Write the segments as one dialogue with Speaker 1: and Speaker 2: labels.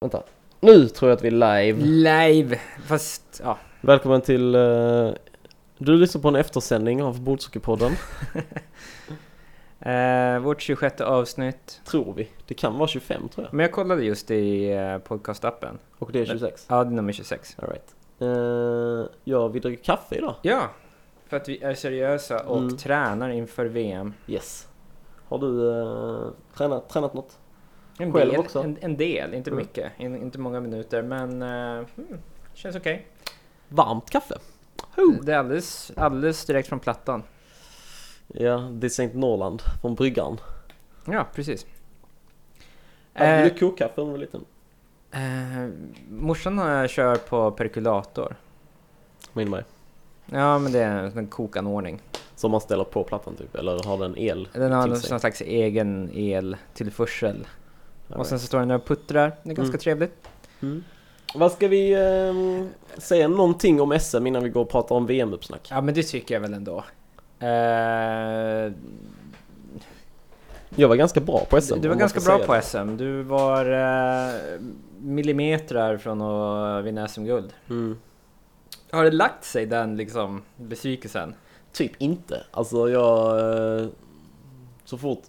Speaker 1: Vänta. Nu tror jag att vi är live.
Speaker 2: Live! Fast, ja.
Speaker 1: Välkommen till... eh, du lyssnar på en eftersändning av Bordsockerpodden.
Speaker 2: Eh, vårt 26 avsnitt.
Speaker 1: tror vi. Det kan vara 25 tror jag.
Speaker 2: Men jag kollade just i eh, podcastappen.
Speaker 1: Och det är 26.
Speaker 2: Ja, det är nummer 26.
Speaker 1: All right. Eh, ja, vi dricker kaffe idag.
Speaker 2: Ja! För att vi är seriösa och
Speaker 1: Mm.
Speaker 2: tränar inför VM.
Speaker 1: Yes. Har du eh, tränat, tränat något?
Speaker 2: En
Speaker 1: Själv
Speaker 2: del,
Speaker 1: också.
Speaker 2: En, en del, inte
Speaker 1: Mm.
Speaker 2: mycket. In, inte många minuter, men... eh, hmm, känns okej.
Speaker 1: Varmt kaffe. Ho!
Speaker 2: Det är alldeles, alldeles direkt från plattan.
Speaker 1: Ja, det är Sankt Norrland från bryggaren.
Speaker 2: Ja, precis.
Speaker 1: Hade
Speaker 2: Eh,
Speaker 1: du kokkaffe när du var liten?
Speaker 2: eh, morsan eh, kör på perkulator.
Speaker 1: Min mig.
Speaker 2: Ja, men det är en, en kokanordning.
Speaker 1: Som man ställer på plattan typ, eller har den el?
Speaker 2: Den har
Speaker 1: till
Speaker 2: någon
Speaker 1: sig?
Speaker 2: sån slags egen eltillförsel.
Speaker 1: All
Speaker 2: Och
Speaker 1: right.
Speaker 2: sen så står den där och puttrar. Det är ganska
Speaker 1: Mm.
Speaker 2: trevligt.
Speaker 1: Mm. Vad ska vi ehm, säga någonting om SM innan vi går och pratar om VM-uppsnack?
Speaker 2: Ja men det tycker jag väl ändå. Eh,
Speaker 1: Jag var ganska bra på SM.
Speaker 2: du, du var
Speaker 1: om man
Speaker 2: ganska
Speaker 1: får
Speaker 2: bra
Speaker 1: säga
Speaker 2: på
Speaker 1: det.
Speaker 2: SM. Du var eh, millimetrar från att vinna SM-guld.
Speaker 1: Mm.
Speaker 2: Har det lagt sig den liksom besvikelsen?
Speaker 1: Typ inte. Alltså jag... eh, Så fort,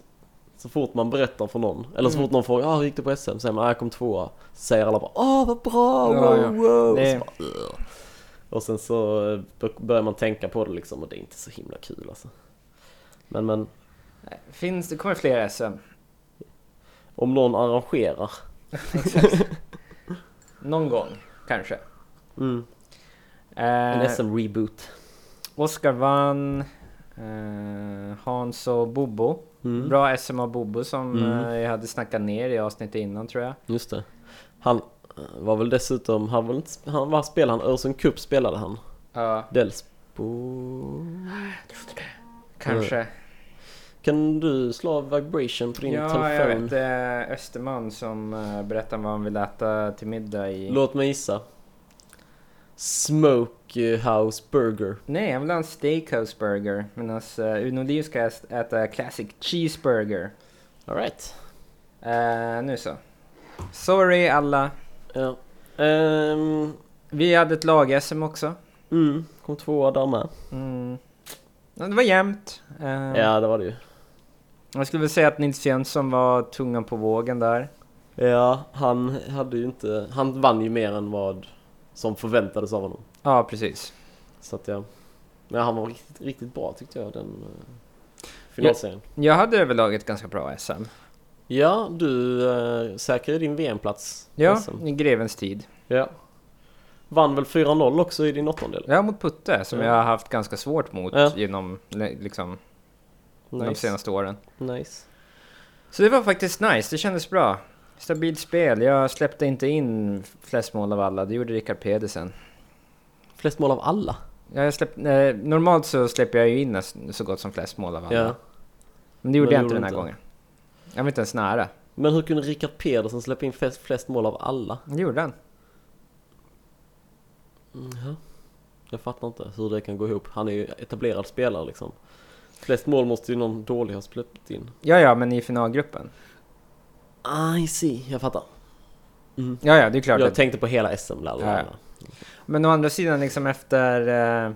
Speaker 1: så fort man berättar för någon, eller så
Speaker 2: Mm.
Speaker 1: fort någon frågar ah, hur gick det på SM? Säger man ah, jag kom tvåa. Så säger alla bara åh vad bra,
Speaker 2: Ja,
Speaker 1: wow,
Speaker 2: ja.
Speaker 1: wow.
Speaker 2: Det-
Speaker 1: Och, så bara, "Ugh." och sen så eh, bör- börjar man tänka på det liksom och det är inte så himla kul alltså. Men men,
Speaker 2: Nej, Finns, det kommer fler SM.
Speaker 1: om någon arrangerar.
Speaker 2: Någon gång, kanske.
Speaker 1: Mm. En
Speaker 2: Eh,
Speaker 1: SM-reboot.
Speaker 2: Oscar vann. Eh, Hans och Bobo.
Speaker 1: Mm.
Speaker 2: Bra SM av Bobo som
Speaker 1: Mm.
Speaker 2: eh, jag hade snackat ner i avsnittet innan tror jag.
Speaker 1: Just det. Han eh, var väl dessutom, han var väl inte, han var spelade han, Öresund Cup spelade han.
Speaker 2: Ja,
Speaker 1: Delsbo...
Speaker 2: Oh. kanske.
Speaker 1: Kan du slå av vibration på din
Speaker 2: ja, jag
Speaker 1: telefon?
Speaker 2: vet. Det är Österman som eh, berättar vad han vill äta till middag i...
Speaker 1: Låt mig gissa. Smokehouse burger.
Speaker 2: Nej, han vill ha en steakhouse burger. Medan uh, Uno Liv ska ä- äta classic cheeseburger.
Speaker 1: Alright.
Speaker 2: Eh, nu så. Sorry alla.
Speaker 1: Ja. Ehm,
Speaker 2: Vi hade ett lag-SM också.
Speaker 1: mm, kom tvåa där med.
Speaker 2: Mm. Ja, Det var jämnt. Eh,
Speaker 1: Ja, det var det ju.
Speaker 2: Jag skulle väl säga att Nils Jönsson var tungan på vågen där.
Speaker 1: Ja, han hade ju inte, han vann ju mer än vad som förväntades av honom.
Speaker 2: Ja, precis.
Speaker 1: Så att ja. Men han var riktigt, riktigt bra tyckte jag den eh, finalserien.
Speaker 2: Jag hade överlag ett ganska bra SM.
Speaker 1: Ja, du eh, säkrade din VM-plats.
Speaker 2: Ja,
Speaker 1: SM.
Speaker 2: i grevens tid.
Speaker 1: ja. Vann väl 4-0 också i din åttondel?
Speaker 2: Ja, mot Putte som
Speaker 1: Ja.
Speaker 2: jag har haft ganska svårt mot
Speaker 1: Ja.
Speaker 2: genom li- liksom, de
Speaker 1: Nice.
Speaker 2: senaste åren.
Speaker 1: nice.
Speaker 2: Så det var faktiskt nice, det kändes bra. Stabilt spel, jag släppte inte in flest mål av alla, det gjorde Rickard Pedersen.
Speaker 1: Flest mål av alla.
Speaker 2: Ja, Jag släpp, eh, normalt så släpper jag ju in nästan så gott som flest mål av alla.
Speaker 1: Ja.
Speaker 2: Men det gjorde
Speaker 1: Men
Speaker 2: jag
Speaker 1: det
Speaker 2: inte den här
Speaker 1: gjorde du
Speaker 2: gången. Jag var inte ens nära.
Speaker 1: Men hur kunde Rickard Pedersen släppa in flest, flest mål av alla?
Speaker 2: Det gjorde han.
Speaker 1: Mhm. Jag fattar inte hur det kan gå ihop. Han är ju etablerad spelare liksom. Flest mål måste ju någon dålig ha släppt in.
Speaker 2: Ja, ja, men i finalgruppen.
Speaker 1: I see, jag fattar. Mm.
Speaker 2: Ja, ja, det är klart.
Speaker 1: Jag
Speaker 2: att-
Speaker 1: tänkte på hela SM. Ja.
Speaker 2: Ja. Men å andra sidan liksom efter eh,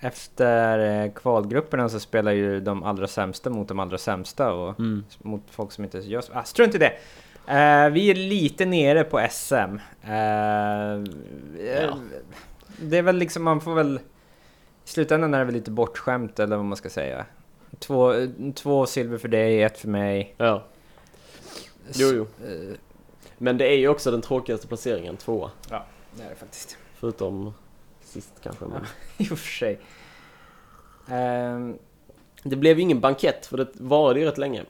Speaker 2: efter eh, kvalgrupperna så spelar ju de allra sämsta mot de allra sämsta och
Speaker 1: Mm.
Speaker 2: mot folk som inte gör så. Ah, strunt i det! Eh, vi är lite nere på SM. Eh, eh, Det är väl liksom, man får väl... I slutändan är det väl lite bortskämt eller vad man ska säga. Två, eh, två silver för dig, ett för mig.
Speaker 1: ja. Jo, jo.
Speaker 2: Eh,
Speaker 1: Men det är ju också den tråkigaste placeringen, tvåa.
Speaker 2: det är det faktiskt.
Speaker 1: Förutom sist kanske. Men.
Speaker 2: I och för sig. Ehm,
Speaker 1: Det blev ju ingen bankett för det varade ju rätt länge.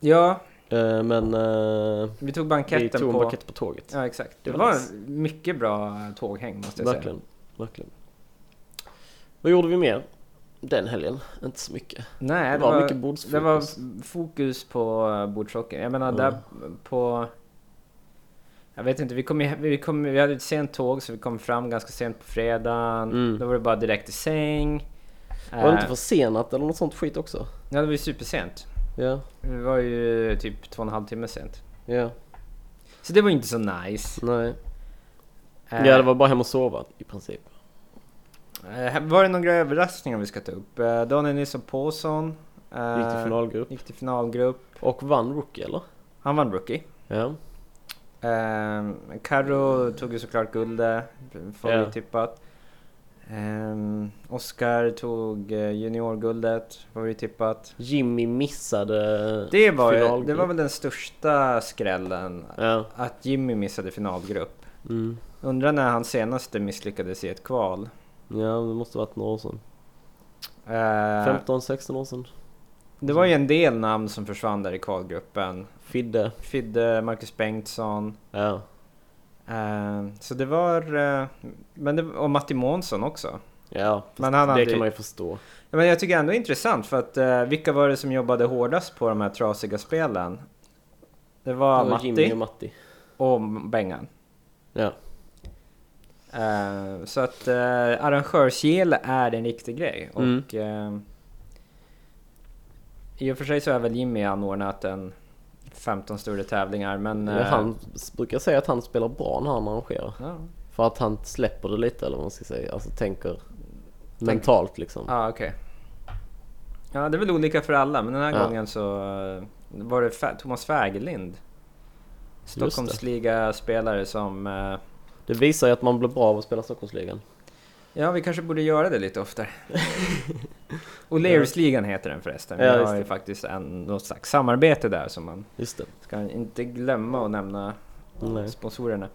Speaker 2: ja,
Speaker 1: Eh, Men eh,
Speaker 2: Vi tog
Speaker 1: vi
Speaker 2: banketten
Speaker 1: tog en
Speaker 2: på...
Speaker 1: bankett på tåget.
Speaker 2: Ja, exakt. Det,
Speaker 1: Det var
Speaker 2: var
Speaker 1: nice.
Speaker 2: mycket bra tåghäng måste jag säga.
Speaker 1: Verkligen, verkligen. Vad gjorde vi mer den helgen? Inte så mycket.
Speaker 2: Nej,
Speaker 1: Det
Speaker 2: det,
Speaker 1: var
Speaker 2: var,
Speaker 1: mycket
Speaker 2: det var
Speaker 1: bordsfokus.
Speaker 2: f- fokus på eh, bordshockey. Jag menar
Speaker 1: Mm.
Speaker 2: där på... Jag vet inte, vi, kom, i- vi, kom, vi hade ett sent tåg så vi kom fram ganska sent på fredagen.
Speaker 1: Mm.
Speaker 2: Då var det bara direkt i säng. Eh,
Speaker 1: Var det inte försenat eller något sånt skit också?
Speaker 2: Ja, det var ju supersent.
Speaker 1: Ja,
Speaker 2: Vi var ju typ två och en halv timme sent.
Speaker 1: ja.
Speaker 2: Så det var inte så nice.
Speaker 1: Nej.
Speaker 2: Eh,
Speaker 1: Ja, det var bara hem och sova i princip.
Speaker 2: eh, var det några överraskningar vi ska ta upp? Eh, Daniel Nilsson Paulsson. eh,
Speaker 1: Gick till finalgrupp.
Speaker 2: gick till finalgrupp.
Speaker 1: Och vann Rookie eller?
Speaker 2: Han vann Rookie.
Speaker 1: Ja.
Speaker 2: Ehm, Karo tog ju såklart guldet, favorittippat. Ehm, Oscar tog eh, juniorguldet, favorittippat.
Speaker 1: Jimmy missade
Speaker 2: Det var, ju,
Speaker 1: finalgrupp.
Speaker 2: det var väl den största skrällen,
Speaker 1: Ja.
Speaker 2: att Jimmy missade finalgrupp.
Speaker 1: Mm.
Speaker 2: Undrar när han senaste misslyckades i ett kval.
Speaker 1: Ja, det måste varit några år sedan.
Speaker 2: Ehm,
Speaker 1: 15-16 år sedan.
Speaker 2: det var ju en del namn som försvann där i kvalgruppen.
Speaker 1: Fidde.
Speaker 2: Fidde, Marcus Bengtsson.
Speaker 1: Ja.
Speaker 2: Ehm, så det var... eh, men det, och Matti Månsson också.
Speaker 1: Ja, fast
Speaker 2: Men han hade
Speaker 1: det
Speaker 2: ju-
Speaker 1: kan man ju förstå.
Speaker 2: Ja, Men jag tycker ändå det är intressant för att eh, vilka var det som jobbade hårdast på de här trasiga spelen? Det var
Speaker 1: Det var Jimmy och
Speaker 2: Matti
Speaker 1: Matti.
Speaker 2: och Bengan.
Speaker 1: Ja.
Speaker 2: Eh, så att eh, arrangörsgel är en riktig grej.
Speaker 1: Mm.
Speaker 2: Och, eh, I och för sig så har väl Jimmy anordnat en 15 större tävlingar men...
Speaker 1: Men
Speaker 2: eh,
Speaker 1: han s- brukar säga att han spelar bra när han arrangerar.
Speaker 2: Ja,
Speaker 1: För att han släpper det lite eller vad man ska säga. Alltså tänker mentalt liksom.
Speaker 2: ah, okej. Ja, det är väl olika för alla men den här
Speaker 1: Ja.
Speaker 2: gången så eh, var det Fa- Thomas Fägerlind.
Speaker 1: det.
Speaker 2: Stockholmsliga-spelare som eh,
Speaker 1: Det visar ju att man blir bra av att spela Stockholmsligan.
Speaker 2: Ja, vi kanske borde göra det lite oftare. O'Learys-ligan heter den förresten. Vi
Speaker 1: Ja, just
Speaker 2: har ju
Speaker 1: det.
Speaker 2: faktiskt en, något slags samarbete där som man
Speaker 1: Just det.
Speaker 2: ska inte glömma att nämna
Speaker 1: Nej.
Speaker 2: sponsorerna.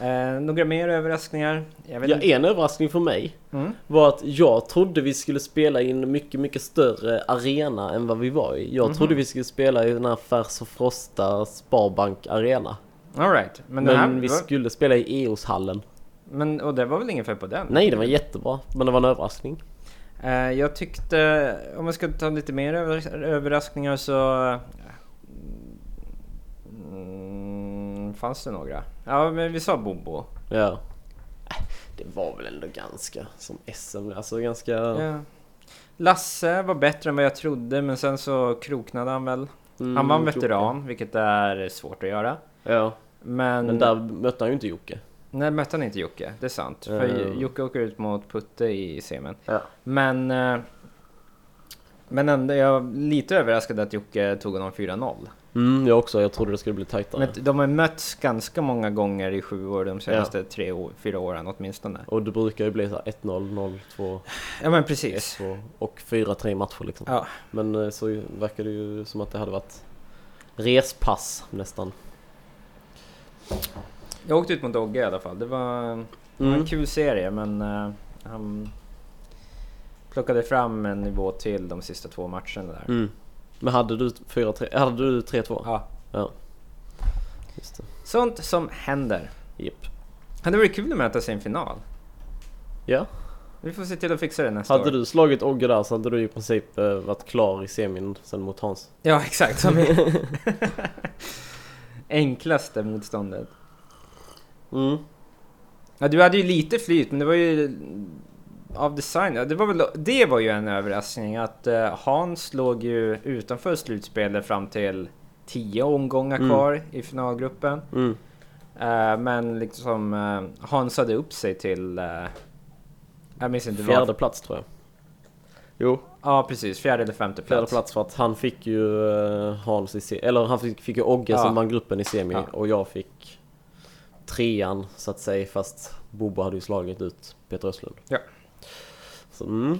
Speaker 2: Eh, några mer överraskningar? Jag vet
Speaker 1: Ja,
Speaker 2: inte.
Speaker 1: en överraskning för mig
Speaker 2: Mm.
Speaker 1: var att jag trodde vi skulle spela i en mycket, mycket större arena än vad vi var i.
Speaker 2: Mhm.
Speaker 1: Jag trodde vi skulle spela i den här Färs och Frosta Sparbank Arena.
Speaker 2: All right.
Speaker 1: Men,
Speaker 2: Men, det här,
Speaker 1: vi
Speaker 2: var-
Speaker 1: skulle spela i EOS-hallen.
Speaker 2: men och det var väl ingen fel på den?
Speaker 1: Nej, det var jättebra. Men det var en överraskning.
Speaker 2: Eh, jag tyckte, om jag ska ta lite mer över, överraskningar så... eh, Mm, fanns det några? Ja, men vi sa Bobo.
Speaker 1: Ja. Äh, Det var väl ändå ganska som SM, alltså ganska...
Speaker 2: Ja. Lasse var bättre än vad jag trodde men sen så kroknade han väl.
Speaker 1: Mm,
Speaker 2: Han vann
Speaker 1: Jocke.
Speaker 2: veteran, vilket är svårt att göra.
Speaker 1: Ja,
Speaker 2: Men,
Speaker 1: men där mötte han ju inte Jocke.
Speaker 2: nej, mötte han inte Jocke, det är sant.
Speaker 1: Ja,
Speaker 2: För
Speaker 1: ja, ja.
Speaker 2: Jocke åker ut mot Putte i semin.
Speaker 1: Eh. Ja.
Speaker 2: Men, eh, men ändå, jag är lite överraskad att Jocke tog honom 4-0.
Speaker 1: Mm, jag också. Jag trodde det skulle bli tajtare.
Speaker 2: Men de har mötts ganska många gånger i sju år, de senaste tre, år, fyra åren åtminstone.
Speaker 1: Och det brukar ju bli så här 1-0, 0-2,
Speaker 2: Ja men precis.
Speaker 1: 1-2 och 4-3 matcher liksom.
Speaker 2: Typ. Ja.
Speaker 1: Men eh, så ju- verkar det ju som att det hade varit respass nästan.
Speaker 2: Jag åkte ut mot Dogge i alla fall. Det var... Det var
Speaker 1: Mm.
Speaker 2: en kul serie men eh, han plockade fram en nivå till de sista två matcherna där.
Speaker 1: Mm. Men hade du 4-3? Hade du 3-2?
Speaker 2: Ja,
Speaker 1: Just det.
Speaker 2: sånt som händer.
Speaker 1: Japp.
Speaker 2: Hade varit kul att möta sig i en final.
Speaker 1: Ja.
Speaker 2: Vi får se till att fixa det nästa
Speaker 1: Hade
Speaker 2: år.
Speaker 1: du slagit Ogge där så hade du i princip eh, varit klar i semin sen mot Hans.
Speaker 2: Ja, exakt. Som är... Enklaste motståndet.
Speaker 1: Mm.
Speaker 2: Ja, du hade ju lite flyt men det var ju av design. Ja, Det var, väl, det var ju en överraskning att eh, Hans låg ju utanför slutspelet fram till tio omgångar
Speaker 1: Mm.
Speaker 2: kvar i finalgruppen.
Speaker 1: Mm.
Speaker 2: Eh, men liksom eh, Hans hade upp sig till... eh, jag minns inte
Speaker 1: Fjärde
Speaker 2: vad.
Speaker 1: plats tror jag. Jo,
Speaker 2: Ja precis, fjärde eller femte
Speaker 1: fjärde
Speaker 2: plats.
Speaker 1: plats för att han fick ju eh, Hans i se- Eller han fick, fick ju Ogge
Speaker 2: Ja.
Speaker 1: som vann gruppen i semi
Speaker 2: Ja.
Speaker 1: och jag fick trean så att säga fast Bobo hade ju slagit ut Peter Östlund.
Speaker 2: Ja.
Speaker 1: Så mm,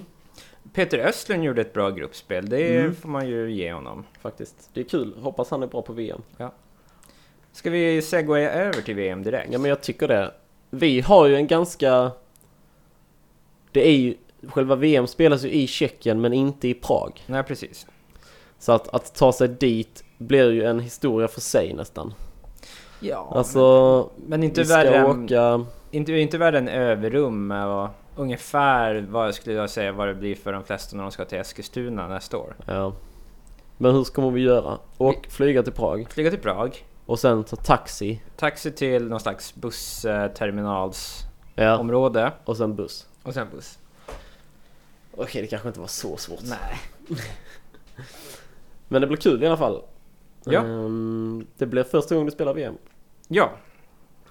Speaker 2: Peter Östlund gjorde ett bra gruppspel, det
Speaker 1: Mm.
Speaker 2: får man ju ge honom.
Speaker 1: faktiskt. Det är kul. Hoppas han är bra på VM.
Speaker 2: Ska vi segwaya över till VM direkt?
Speaker 1: Ja men jag tycker det. Vi har ju en ganska... Det är ju... Själva VM spelas ju i Tjeckien men inte i Prag.
Speaker 2: Nej precis.
Speaker 1: Så att, att ta sig dit blir ju en historia för sig nästan.
Speaker 2: Ja,
Speaker 1: Alltså...
Speaker 2: men, men inte
Speaker 1: vi ska
Speaker 2: värre än...
Speaker 1: åka...
Speaker 2: Inte, inte värre än överrum med vad, ungefär vad jag skulle jag säga vad det blir för de flesta när de ska till Eskilstuna nästa år.
Speaker 1: Ja. Men hur kommer vi göra? Och flyga till Prag
Speaker 2: Flyga till Prag,
Speaker 1: och sen ta taxi.
Speaker 2: taxi till någon slags bussterminalsområde
Speaker 1: Ja. Och sen buss.
Speaker 2: och sen buss.
Speaker 1: Okej, det kanske inte var så svårt.
Speaker 2: Nej.
Speaker 1: Men det blir kul i alla fall.
Speaker 2: Ja.
Speaker 1: Ehm, det blir första gången du spelar VM.
Speaker 2: Ja,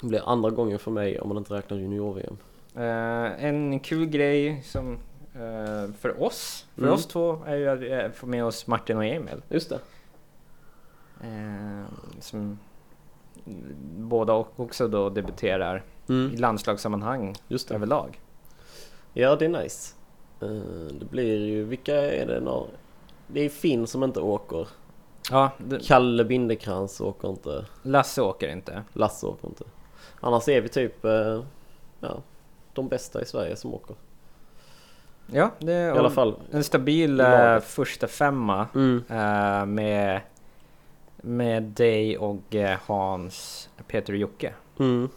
Speaker 1: Det blir andra gången för mig om man inte räknar junior-VM.
Speaker 2: Eh, en kul grej som eh, för oss, för
Speaker 1: Mm.
Speaker 2: oss två, är ju att vi eh, får med oss Martin och Emil.
Speaker 1: Just det.
Speaker 2: Eh, som båda och- också då debuterar i
Speaker 1: Mm,
Speaker 2: landslagssammanhang
Speaker 1: just det.
Speaker 2: överlag.
Speaker 1: Ja, det är nice. Eh, Det blir ju, vilka är det när? Det är Finn som inte åker.
Speaker 2: Ja, det-
Speaker 1: Kalle Bindekrans åker inte.
Speaker 2: Lasse åker inte.
Speaker 1: Lasse åker inte. Annars är vi typ, eh, ja, de bästa i Sverige som åker.
Speaker 2: Ja, det
Speaker 1: I
Speaker 2: är
Speaker 1: alla fall.
Speaker 2: en stabil
Speaker 1: I
Speaker 2: eh,
Speaker 1: laget.
Speaker 2: första femma
Speaker 1: Mm.
Speaker 2: eh, med, med dig och eh, Hans, Peter och Jocke.
Speaker 1: Mm.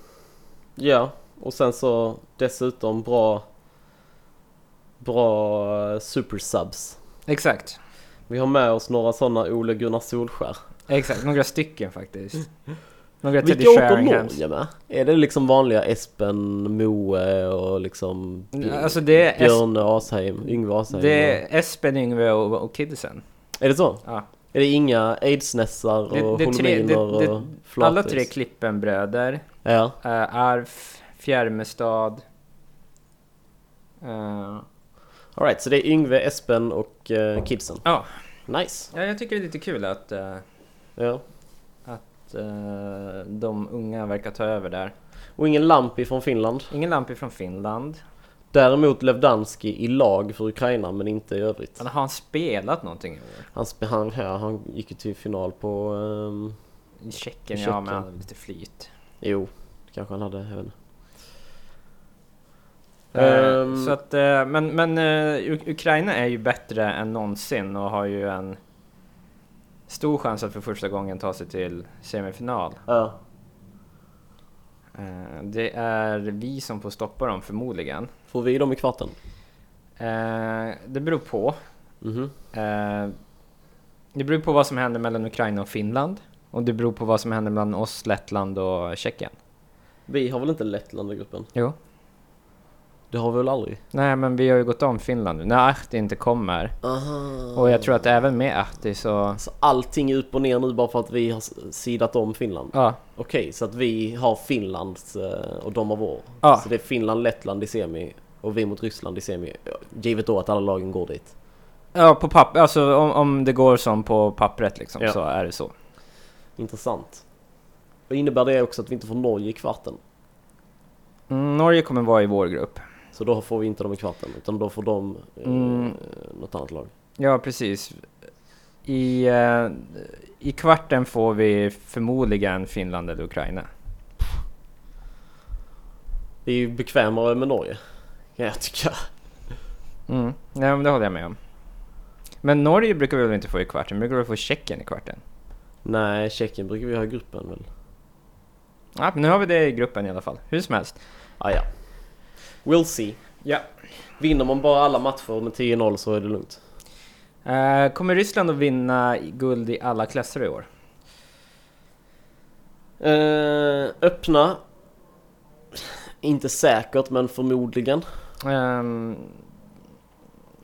Speaker 1: Ja, och sen så dessutom bra, bra eh, supersubs.
Speaker 2: Exakt,
Speaker 1: Vi har med oss några sådana Ole Gunnar Solskär.
Speaker 2: exakt. Några stycken faktiskt. Några Teddy
Speaker 1: Vilka åker
Speaker 2: Sheringhams.
Speaker 1: Norge med? Är det liksom vanliga Espen, Moe och liksom
Speaker 2: Mm,
Speaker 1: Björ-
Speaker 2: Alltså det är, es-
Speaker 1: Björne Asheim, Yngve Asheim?
Speaker 2: det är Espen, Yngve och, och Kidsen.
Speaker 1: Är det så?
Speaker 2: Ja.
Speaker 1: Är det inga aidsnässar
Speaker 2: Det-
Speaker 1: och
Speaker 2: det är tre- det-
Speaker 1: holminer
Speaker 2: det-
Speaker 1: och flatis?
Speaker 2: Alla tre Klippenbröder,
Speaker 1: Ja,
Speaker 2: uh, Arf, Fjärmestad. Eh,
Speaker 1: alright. Så det är Yngve, Espen och eh, kidsen?
Speaker 2: Ja.
Speaker 1: Nice.
Speaker 2: ja, jag tycker det är lite kul att, eh,
Speaker 1: Ja.
Speaker 2: att eh, de unga verkar ta över där.
Speaker 1: Och ingen Lampi från Finland.
Speaker 2: Ingen Lampi från Finland.
Speaker 1: Däremot Levdanski i lag för Ukraina men inte i övrigt.
Speaker 2: Men har han spelat någonting i år?
Speaker 1: Han, sp- han, ja, han gick ju till final på... ehm,
Speaker 2: I Tjeckien,
Speaker 1: I
Speaker 2: ja, men
Speaker 1: Tjeckien.
Speaker 2: han hade lite flyt.
Speaker 1: jo, det kanske han hade. Jag vet inte.
Speaker 2: Eh,
Speaker 1: Ehm.
Speaker 2: så att, eh, men men eh, Uk- Ukraina är ju bättre än någonsin och har ju en stor chans att för första gången ta sig till semifinal.
Speaker 1: Ja.
Speaker 2: Eh, det är vi som får stoppa dem förmodligen.
Speaker 1: Får vi dem i kvarten?
Speaker 2: Eh, det beror på.
Speaker 1: Mhm.
Speaker 2: Eh, det beror på vad som händer mellan Ukraina och Finland. Och det beror på vad som händer mellan oss, Lettland och Tjeckien.
Speaker 1: Vi har väl inte Lettland i gruppen?
Speaker 2: Jo.
Speaker 1: Det har vi väl aldrig?
Speaker 2: Nej, men vi har ju gått om Finland nu. När Ahti inte kommer.
Speaker 1: Aha.
Speaker 2: Och jag tror att även med Ahti så...
Speaker 1: Så Alltså, allting är upp och ner nu bara för att vi har s- sidat om Finland?
Speaker 2: Ja,
Speaker 1: Okej, så att vi har Finlands eh, och de har vår?
Speaker 2: Ja.
Speaker 1: Så det är Finland-Lettland i semi och vi mot Ryssland i semi? Givet då att alla lagen går dit.
Speaker 2: ja på papper. Alltså om, om det går som på pappret liksom
Speaker 1: Ja.
Speaker 2: så är det så.
Speaker 1: Intressant. Och innebär det också att vi inte får Norge i kvarten?
Speaker 2: Mm, Norge kommer vara i vår grupp.
Speaker 1: Så då får vi inte dem i kvarten, utan då får de eh,
Speaker 2: Mm.
Speaker 1: något annat lag.
Speaker 2: Ja, precis. I, eh, I kvarten får vi förmodligen Finland eller Ukraina.
Speaker 1: Det är ju bekvämare med Norge, kan jag tycka.
Speaker 2: Mm. Nej, men det håller jag med om. Men Norge brukar vi väl inte få i kvarten? Brukar vi få Tjeckien i kvarten?
Speaker 1: Nej, Tjeckien brukar vi ha i gruppen väl?
Speaker 2: Ja, men nu har vi det i gruppen i alla fall. Hur som helst.
Speaker 1: Ah, ja. We'll see.
Speaker 2: Ja.
Speaker 1: Vinner man bara alla matcher med 10-0 så är det lugnt.
Speaker 2: Eh, kommer Ryssland att vinna i- guld i alla klasser i år?
Speaker 1: Eh, öppna. Inte säkert, men förmodligen.
Speaker 2: Ehm,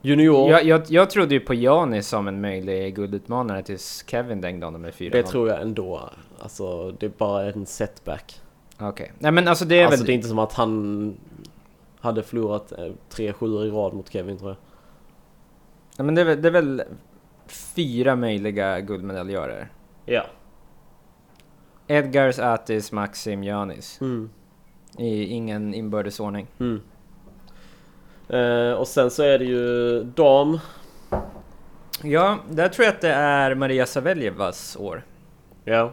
Speaker 1: Junior.
Speaker 2: jag, jag, jag trodde ju på Jani som en möjlig guldutmanare tills Kevin dängde honom med 4
Speaker 1: det tror jag ändå. Alltså, det är bara en setback.
Speaker 2: Okej. Nej men alltså det är
Speaker 1: alltså,
Speaker 2: väl...
Speaker 1: det är inte som att han hade förlorat eh, tre 7 i rad mot Kevin, tror jag.
Speaker 2: Nej, men det är väl, det är väl fyra möjliga guldmedaljörer?
Speaker 1: Ja.
Speaker 2: Edgars, Atis, Maxim, Janis.
Speaker 1: Mm.
Speaker 2: I ingen inbördes ordning.
Speaker 1: Mm. Eh, och sen så är det ju dam.
Speaker 2: Ja, där tror jag att det är Maria Saveljevas år.
Speaker 1: Ja.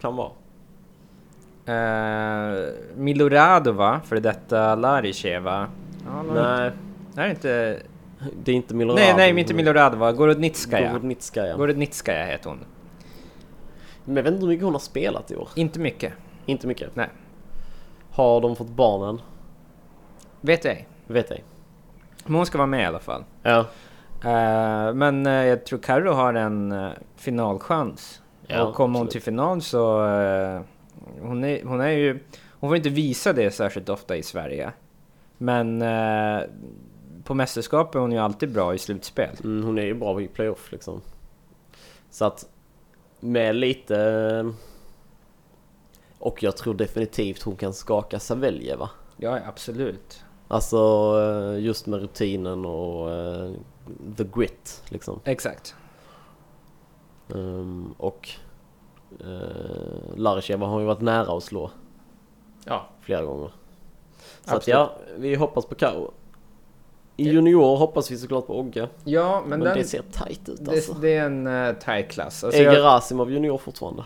Speaker 1: Kan vara.
Speaker 2: Eh, Miloradova, för detta Larisheva. Ja, nej.
Speaker 1: Nej,
Speaker 2: Är det inte...
Speaker 1: det är inte Miloradov.
Speaker 2: Nej, nej, inte Miloradova. Gorodnitskaja.
Speaker 1: Gorodnitskaja.
Speaker 2: Gorodnitskaja heter hon.
Speaker 1: Men jag vet inte hur mycket hon har spelat i år.
Speaker 2: Inte mycket.
Speaker 1: Inte mycket.
Speaker 2: Nej.
Speaker 1: Har de fått barnen?
Speaker 2: Vet ej.
Speaker 1: Vet ej.
Speaker 2: Men hon ska vara med i alla fall.
Speaker 1: Ja.
Speaker 2: Eh, men eh, jag tror Karo har en eh, finalchans.
Speaker 1: Ja,
Speaker 2: och kommer hon
Speaker 1: absolut.
Speaker 2: till final så... eh, hon, är, hon är ju... Hon får inte visa det särskilt ofta i Sverige. Men eh, på mästerskap är hon ju alltid bra i slutspel.
Speaker 1: Mm, hon är ju bra i playoff liksom. Så att med lite... eh, Och jag tror definitivt hon kan skaka Saveljeva.
Speaker 2: Ja, absolut.
Speaker 1: Alltså eh, just med rutinen och eh, the grit liksom.
Speaker 2: Exakt.
Speaker 1: Ehm, Och eh, Larisheva har ju varit nära att slå
Speaker 2: Ja.
Speaker 1: flera gånger. Så att
Speaker 2: Absolut.
Speaker 1: ja, vi hoppas på Karo. I junior hoppas vi såklart på Ogge.
Speaker 2: Ja, men,
Speaker 1: Men,
Speaker 2: den,
Speaker 1: det
Speaker 2: det,
Speaker 1: ser tight ut
Speaker 2: det,
Speaker 1: alltså.
Speaker 2: är en uh, tight klass. Alltså,
Speaker 1: Är
Speaker 2: jag
Speaker 1: Gerasimov junior fortfarande?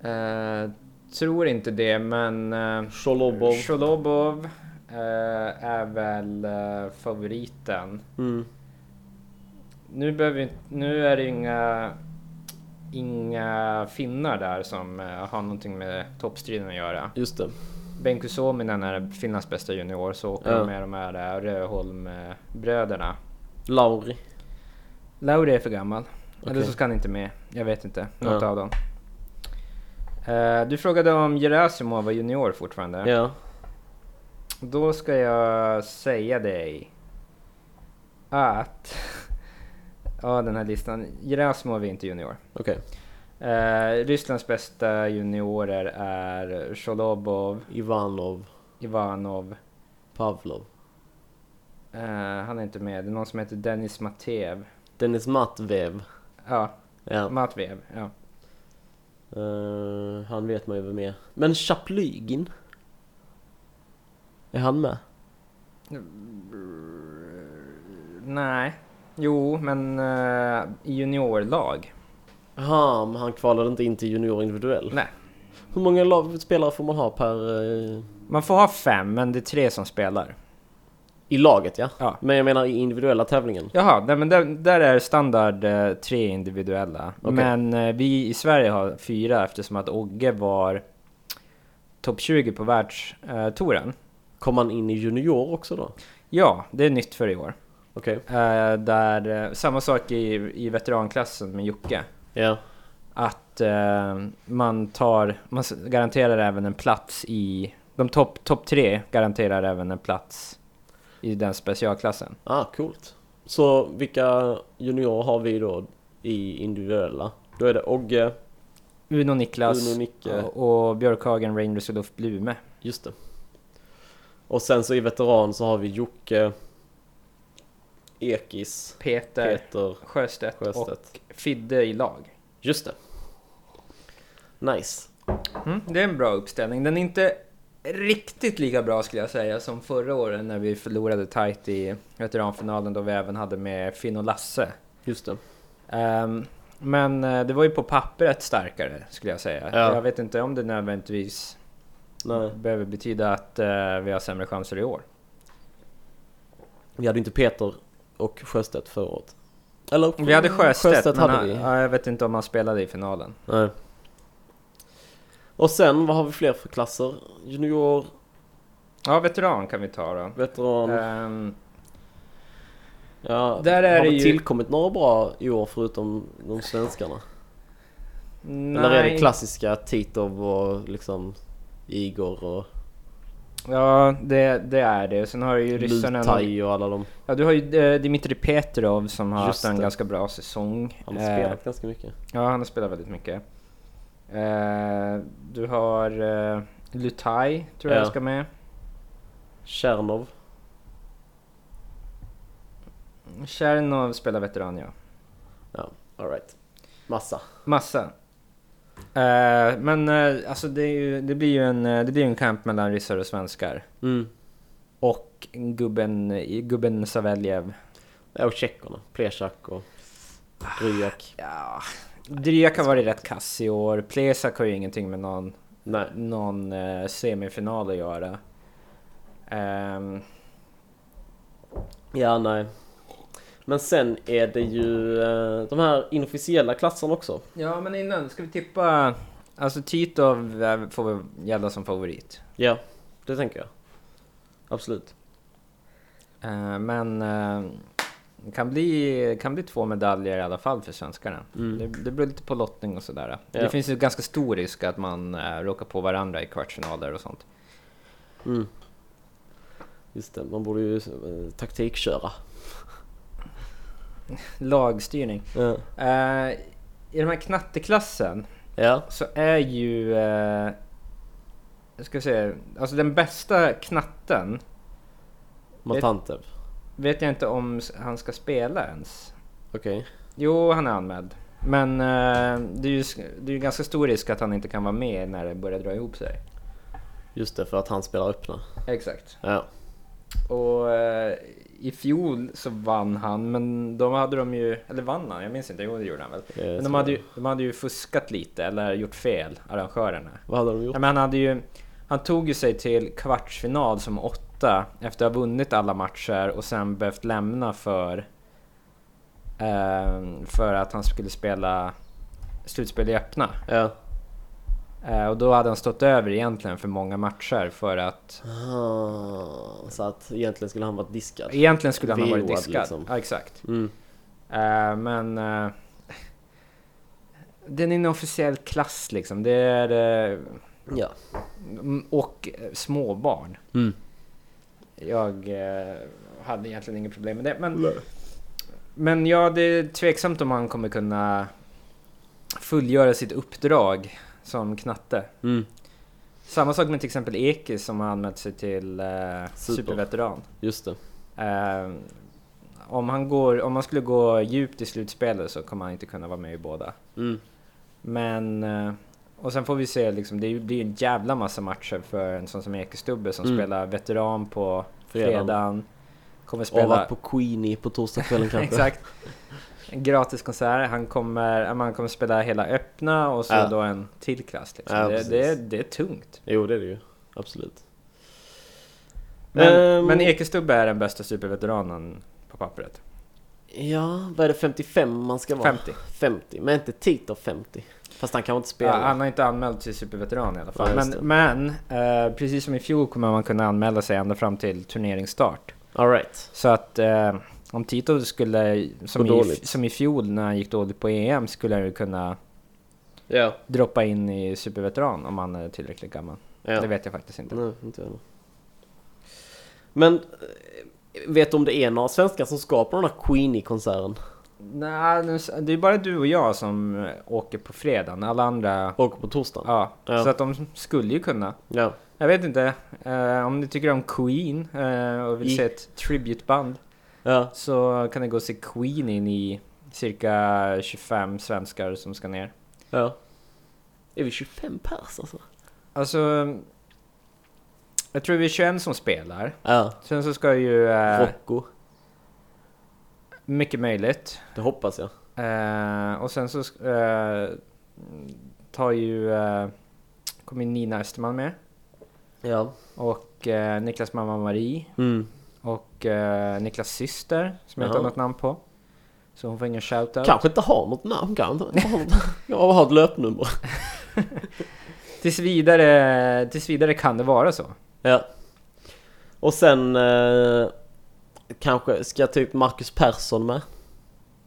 Speaker 2: eh, tror inte det, men... eh,
Speaker 1: Cholobov.
Speaker 2: Cholobov eh, är väl eh, favoriten.
Speaker 1: Mm.
Speaker 2: Nu, behöver, vi inte- nu är det inga, inga finnar där som eh, har någonting med toppstriden att göra.
Speaker 1: Just det.
Speaker 2: Benko Suominen är Finlands bästa junior, så åker
Speaker 1: Ja.
Speaker 2: de med de här eh, Röholm-bröderna.
Speaker 1: Lauri.
Speaker 2: Lauri är för gammal. Eller
Speaker 1: Okej.
Speaker 2: så ska han inte med. Jag vet inte. Något
Speaker 1: Ja.
Speaker 2: av dem. Eh, du frågade om Gerasimov var junior fortfarande.
Speaker 1: Ja.
Speaker 2: Då ska jag säga dig att... ja, den här listan. Gerasimov är inte junior.
Speaker 1: Okej.
Speaker 2: Eh, Rysslands bästa juniorer är Cholobov,
Speaker 1: Ivanov.
Speaker 2: Ivanov.
Speaker 1: Pavlov.
Speaker 2: Eh, han är inte med. Det är någon som heter Dennis Mateev.
Speaker 1: Dennis Matvev.
Speaker 2: Ja,
Speaker 1: Ja.
Speaker 2: Matveev. Ja.
Speaker 1: Eh, han vet man ju vem är. Men Chaplygin? Är han med?
Speaker 2: Nej. Jo, men eh, i juniorlag.
Speaker 1: Jaha, men han kvalade inte in till junior individuell.
Speaker 2: Nej.
Speaker 1: Hur många lag- spelare får man ha per... eh,
Speaker 2: Man får ha fem, men det är tre som spelar.
Speaker 1: I laget ja.
Speaker 2: Ja.
Speaker 1: Men jag menar i individuella tävlingen.
Speaker 2: Jaha, nej, men där, där är standard eh, tre individuella.
Speaker 1: Okej.
Speaker 2: Men eh, vi i Sverige har fyra eftersom att Ogge var topp 20 på världstouren.
Speaker 1: Kom han in i junior också då?
Speaker 2: Ja, det är nytt för i år.
Speaker 1: Okej.
Speaker 2: Eh, där, eh, samma sak i, i veteranklassen med Jocke.
Speaker 1: Ja.
Speaker 2: Att eh, man tar, man s- garanterar även en plats i, de topp top tre garanterar även en plats i den specialklassen.
Speaker 1: Ah, coolt. Så vilka juniorer har vi då i individuella? Då är det Ogge,
Speaker 2: Uno Niklas
Speaker 1: Uno, Nicke.
Speaker 2: och Björkhagen, Rangers och Ulf Blume.
Speaker 1: Just det. Och sen så i veteran så har vi Jocke, Ekis,
Speaker 2: Peter,
Speaker 1: Peter,
Speaker 2: Sjöstedt,
Speaker 1: Sjöstedt.
Speaker 2: och Fidde i lag.
Speaker 1: Just det. Nice.
Speaker 2: Mm, det är en bra uppställning. Den är inte riktigt lika bra skulle jag säga som förra året när vi förlorade tight i veteranfinalen då vi även hade med Finn och Lasse.
Speaker 1: Just det.
Speaker 2: Ehm, men eh, det var ju på pappret starkare skulle jag säga.
Speaker 1: Ja.
Speaker 2: Jag vet inte om det nödvändigtvis
Speaker 1: Nej.
Speaker 2: behöver betyda att eh, vi har sämre chanser i år.
Speaker 1: Vi hade ju inte Peter och Sjöstedt förra året. Eller?
Speaker 2: Vi hade Sjöstedt, men
Speaker 1: Mm, hade
Speaker 2: han-
Speaker 1: vi.
Speaker 2: ja, jag vet inte om han spelade i finalen.
Speaker 1: Nej. Och sen, vad har vi fler för klasser? Junior,
Speaker 2: Ja, veteran kan vi ta då.
Speaker 1: veteran.
Speaker 2: Ehm,
Speaker 1: ja,
Speaker 2: där är
Speaker 1: har
Speaker 2: det
Speaker 1: det
Speaker 2: ju-
Speaker 1: tillkommit några bra i år förutom de svenskarna? Eller är det
Speaker 2: nej.
Speaker 1: klassiska Titov och liksom Igor och
Speaker 2: Ja, det, det är det. Sen har ju ryssarna...
Speaker 1: Lutaj och alla de.
Speaker 2: Ja, du har ju eh, Dmitrij Petrov som har
Speaker 1: Just
Speaker 2: haft en
Speaker 1: det.
Speaker 2: ganska bra säsong.
Speaker 1: Han har
Speaker 2: Eh,
Speaker 1: spelat ganska mycket.
Speaker 2: Ja, han har spelat väldigt mycket. Eh, du har eh, Lutaj, tror jag
Speaker 1: Ja.
Speaker 2: ska med.
Speaker 1: Tjernov.
Speaker 2: Tjernov spelar veteran, ja.
Speaker 1: Alright. Massa.
Speaker 2: Massa. Eh, men eh, alltså det, är ju, det blir ju en, eh, det blir ju en kamp mellan ryssar och svenskar.
Speaker 1: Mm.
Speaker 2: Och gubben, gubben Saveljev.
Speaker 1: Ja, och tjeckerna. Plechak och Ryak.
Speaker 2: Ja, Dryak har varit rätt kass i år. Plesak har ju ingenting med någon
Speaker 1: Nej.
Speaker 2: någon eh, semifinal att göra. Ehm,
Speaker 1: Ja, nej. Men sen är det ju eh, de här inofficiella klasserna också.
Speaker 2: ja, men innan ska vi tippa... Alltså Titov eh, får väl gälla som favorit.
Speaker 1: Ja, det tänker jag. Absolut.
Speaker 2: Eh, men eh, det kan bli, kan bli två medaljer i alla fall för svenskarna.
Speaker 1: Mm.
Speaker 2: Det, det beror lite på lottning och sådär. Det
Speaker 1: Ja.
Speaker 2: finns ju ganska stor risk att man eh, råkar på varandra i kvartsfinaler och sånt.
Speaker 1: Mm. Just det, man borde ju eh, taktikköra.
Speaker 2: Lagstyrning.
Speaker 1: Ja.
Speaker 2: Eh, I den här knatteklassen
Speaker 1: Ja.
Speaker 2: så är ju eh, jag ska se, alltså den bästa knatten
Speaker 1: Mot
Speaker 2: Ett-
Speaker 1: Antep.
Speaker 2: vet jag inte om s- han ska spela ens.
Speaker 1: Okej.
Speaker 2: Jo, han är anmäld. Men eh, det är ju sk- det är ju ganska stor risk att han inte kan vara med när det börjar dra ihop sig.
Speaker 1: Just det, för att han spelar öppna.
Speaker 2: Exakt.
Speaker 1: Ja.
Speaker 2: Och eh, i fjol så vann han, men de hade de ju... Eller vann han? Jag minns inte. Jo, det gjorde han väl.
Speaker 1: Eh,
Speaker 2: Men de
Speaker 1: så-
Speaker 2: hade, ju, de hade ju fuskat lite, eller gjort fel, arrangörerna.
Speaker 1: Vad hade de
Speaker 2: Ja,
Speaker 1: gjort?
Speaker 2: men han, hade ju, han tog ju sig till kvartsfinal som åtta efter att ha vunnit alla matcher och sen behövt lämna för eh, för att han skulle spela slutspel i öppna.
Speaker 1: Ja.
Speaker 2: Eh, och då hade han stått över egentligen för många matcher för att
Speaker 1: Ah, Så att egentligen skulle han varit diskad.
Speaker 2: egentligen skulle han ha varit
Speaker 1: VO'ad
Speaker 2: diskad.
Speaker 1: liksom.
Speaker 2: Ja, exakt.
Speaker 1: Mm.
Speaker 2: Eh, men eh, den är en officiell klass liksom. Det är eh,
Speaker 1: Ja.
Speaker 2: Mm, Och eh, småbarn.
Speaker 1: Mm.
Speaker 2: Jag eh, hade egentligen inget problem med det. Men, men ja, det är tveksamt om han kommer kunna fullgöra sitt uppdrag som knatte.
Speaker 1: Mm.
Speaker 2: Samma sak med till exempel Ekis som har anmält sig till eh, superveteran.
Speaker 1: Just det.
Speaker 2: Eh, om, han går, om han skulle gå djupt i slutspelet så kommer han inte kunna vara med i båda.
Speaker 1: Mm.
Speaker 2: Men... eh, Och sen får vi se, liksom, det blir ju en jävla massa matcher för en sån som Ekestubbe som
Speaker 1: Mm.
Speaker 2: spelar veteran på
Speaker 1: Fredagen.
Speaker 2: fredagen. Kommer
Speaker 1: Och
Speaker 2: spela...
Speaker 1: varit på Queenie på torsdagskvällen kanske.
Speaker 2: Exakt. En gratis konsert. Han kommer, ja, men han kommer spela hela öppna och så
Speaker 1: Ja.
Speaker 2: då en till klass. Liksom.
Speaker 1: Ja,
Speaker 2: det,
Speaker 1: precis.
Speaker 2: det, är- det är tungt.
Speaker 1: Jo, det är det ju. Absolut.
Speaker 2: Men,
Speaker 1: Ehm.
Speaker 2: men Ekestubbe är den bästa superveteranen på pappret.
Speaker 1: Ja, vad är det 55 man ska vara?
Speaker 2: 50.
Speaker 1: 50. Men inte Tito 50. Fast han kanske inte
Speaker 2: Ja,
Speaker 1: spelar.
Speaker 2: han har inte anmält sig superveteran i alla fall.
Speaker 1: Ja, just
Speaker 2: men men eh, precis som i fjol kommer man kunna anmäla sig ända fram till turneringsstart.
Speaker 1: All right.
Speaker 2: Så att eh, om Tito skulle, som
Speaker 1: Gå
Speaker 2: i,
Speaker 1: dåligt.
Speaker 2: som i fjol när han gick dåligt på EM, skulle han ju kunna
Speaker 1: Ja.
Speaker 2: droppa in i superveteran om han är tillräckligt gammal.
Speaker 1: ja.
Speaker 2: Det vet jag faktiskt inte.
Speaker 1: Nej, inte jag heller. Men eh, vet du om det är några svenskar som ska på den här Queenie-konserten?
Speaker 2: Nej, nu s- det är bara du och jag som eh, åker på fredagen. Alla andra...
Speaker 1: Och på torsdagen?
Speaker 2: Ja,
Speaker 1: Ja.
Speaker 2: så att de skulle ju kunna.
Speaker 1: Ja.
Speaker 2: Jag vet inte. Eh, om ni tycker om Queen eh, och vill
Speaker 1: I-
Speaker 2: se ett tributeband
Speaker 1: Ja.
Speaker 2: så kan ni gå och se Queen in i cirka 25 svenskar som ska ner.
Speaker 1: ja. Är vi 25 pers alltså?
Speaker 2: Alltså... Jag tror vi är 21 som spelar.
Speaker 1: Ja.
Speaker 2: Sen så ska ju... Eh,
Speaker 1: Rocco.
Speaker 2: mycket möjligt.
Speaker 1: Det hoppas jag.
Speaker 2: Eh, och sen så sk- eh, tar ju... Eh, kommer ju Nina Österman med.
Speaker 1: Ja.
Speaker 2: Och eh, Niklas mamma Marie.
Speaker 1: Mm.
Speaker 2: Och eh, Niklas syster, som jag inte
Speaker 1: Jaha.
Speaker 2: har något namn på. Så hon får ingen shoutout.
Speaker 1: Kanske inte har något namn, kanske inte har något. Jag har ett löpnummer.
Speaker 2: Tills vidare, tills vidare kan det vara så.
Speaker 1: Ja. Och sen eh, kanske, ska typ Marcus Persson med?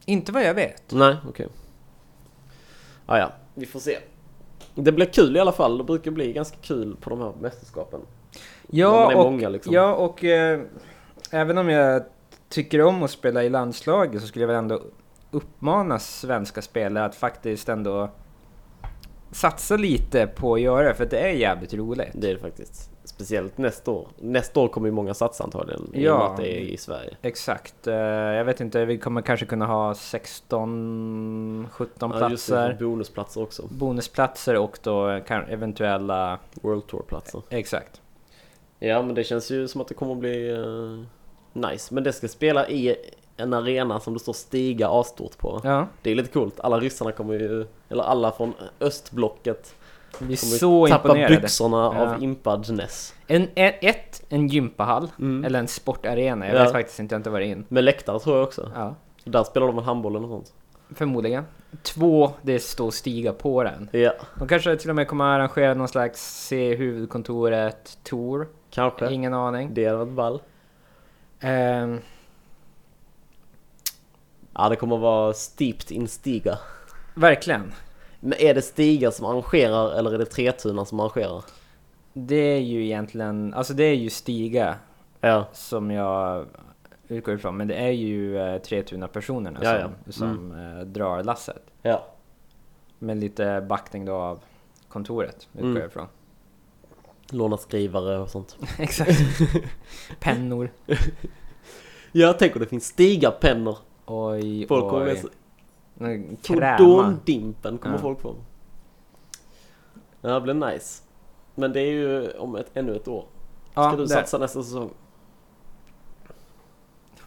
Speaker 2: Inte vad jag vet.
Speaker 1: Nej, okej. Ah, ja, vi får se. Det blir kul i alla fall. Det brukar bli ganska kul på de här mästerskapen. När man
Speaker 2: Ja,
Speaker 1: är
Speaker 2: och
Speaker 1: många liksom.
Speaker 2: Ja, och eh, även om jag tycker om att spela i landslaget så skulle jag väl ändå uppmana svenska spelare att faktiskt ändå satsa lite på att göra det, för det är jävligt roligt.
Speaker 1: Det är det faktiskt. Speciellt nästa år. Nästa år kommer ju många satsa antagligen. I och
Speaker 2: Ja.
Speaker 1: med att det är i Sverige.
Speaker 2: Exakt. Eh, jag vet inte, vi kommer kanske kunna ha 16, 17
Speaker 1: Ja, just det.
Speaker 2: platser.
Speaker 1: Bonusplatser också.
Speaker 2: Bonusplatser och då kan eventuella...
Speaker 1: World Tour-platser.
Speaker 2: Exakt.
Speaker 1: Ja, men det känns ju som att det kommer att bli eh, nice. Men det ska spela i en arena som det står Stiga A-stort på.
Speaker 2: Ja.
Speaker 1: Det är lite coolt. Alla ryssarna kommer ju, eller alla från östblocket
Speaker 2: Vi är
Speaker 1: kommer ju
Speaker 2: så
Speaker 1: tappa
Speaker 2: imponerade.
Speaker 1: byxorna
Speaker 2: Ja.
Speaker 1: av Impadness.
Speaker 2: En, en, ett, en gympahall.
Speaker 1: Mm.
Speaker 2: Eller en sportarena. Jag
Speaker 1: Ja.
Speaker 2: vet faktiskt inte, jag har inte varit in.
Speaker 1: Med läktare tror jag också.
Speaker 2: Ja.
Speaker 1: Där spelar de väl handboll eller något sånt.
Speaker 2: Förmodligen. Två, det står stiga på den.
Speaker 1: Ja,
Speaker 2: De kanske till och med kommer arrangera någon slags se huvudkontoret-tour.
Speaker 1: kanske.
Speaker 2: Ingen aning.
Speaker 1: Det hade varit ball.
Speaker 2: Ehm,
Speaker 1: Ja, det kommer att vara steeped in Stiga.
Speaker 2: verkligen.
Speaker 1: Men är det Stiga som arrangerar eller är det Tretuna som arrangerar?
Speaker 2: Det är ju egentligen, alltså det är ju Stiga
Speaker 1: Ja,
Speaker 2: som jag utgår ifrån, men det är ju eh, Tretuna-personerna
Speaker 1: Ja, Mm.
Speaker 2: som,
Speaker 1: ja.
Speaker 2: som eh, drar lasset.
Speaker 1: ja.
Speaker 2: Med lite backning då av kontoret, utgår
Speaker 1: Mm.
Speaker 2: jag ifrån.
Speaker 1: Låna skrivare och sånt.
Speaker 2: Exakt. Pennor.
Speaker 1: Jag tänker det finns stigarpennor.
Speaker 2: Oj,
Speaker 1: Folk kommer
Speaker 2: oj.
Speaker 1: läsa
Speaker 2: Nu Kräma.
Speaker 1: Fordondimpen kommer
Speaker 2: Ja.
Speaker 1: folk på. Det här blir nice. Men det är ju om ett, ännu ett år. Ska
Speaker 2: Ja,
Speaker 1: du
Speaker 2: där.
Speaker 1: satsa nästa säsong?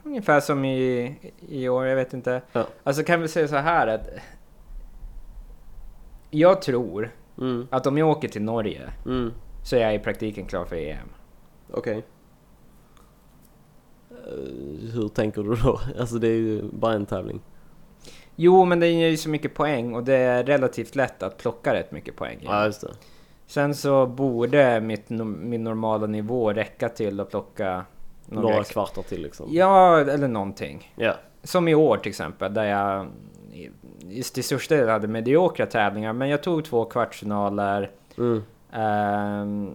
Speaker 2: Ungefär som i, i år, jag vet inte.
Speaker 1: Ja.
Speaker 2: Alltså kan vi säga så här att... Jag tror
Speaker 1: Mm,
Speaker 2: att om jag åker till Norge
Speaker 1: mm,
Speaker 2: så är jag i praktiken klar för E EM.
Speaker 1: okej. Eh, hur tänker du då? Alltså det är ju bara en tävling.
Speaker 2: Jo, men det ger ju så mycket poäng och det är relativt lätt att plocka rätt mycket poäng. i.
Speaker 1: Ja, just det.
Speaker 2: Sen så borde mitt, no- min normala nivå räcka till att plocka några,
Speaker 1: Några
Speaker 2: ex-
Speaker 1: kvartar till liksom.
Speaker 2: Ja, eller någonting.
Speaker 1: Ja.
Speaker 2: Som i år till exempel, där jag i- i- till största del hade mediokra tävlingar. Men jag tog två kvartsfinaler,
Speaker 1: Mm.
Speaker 2: ehm,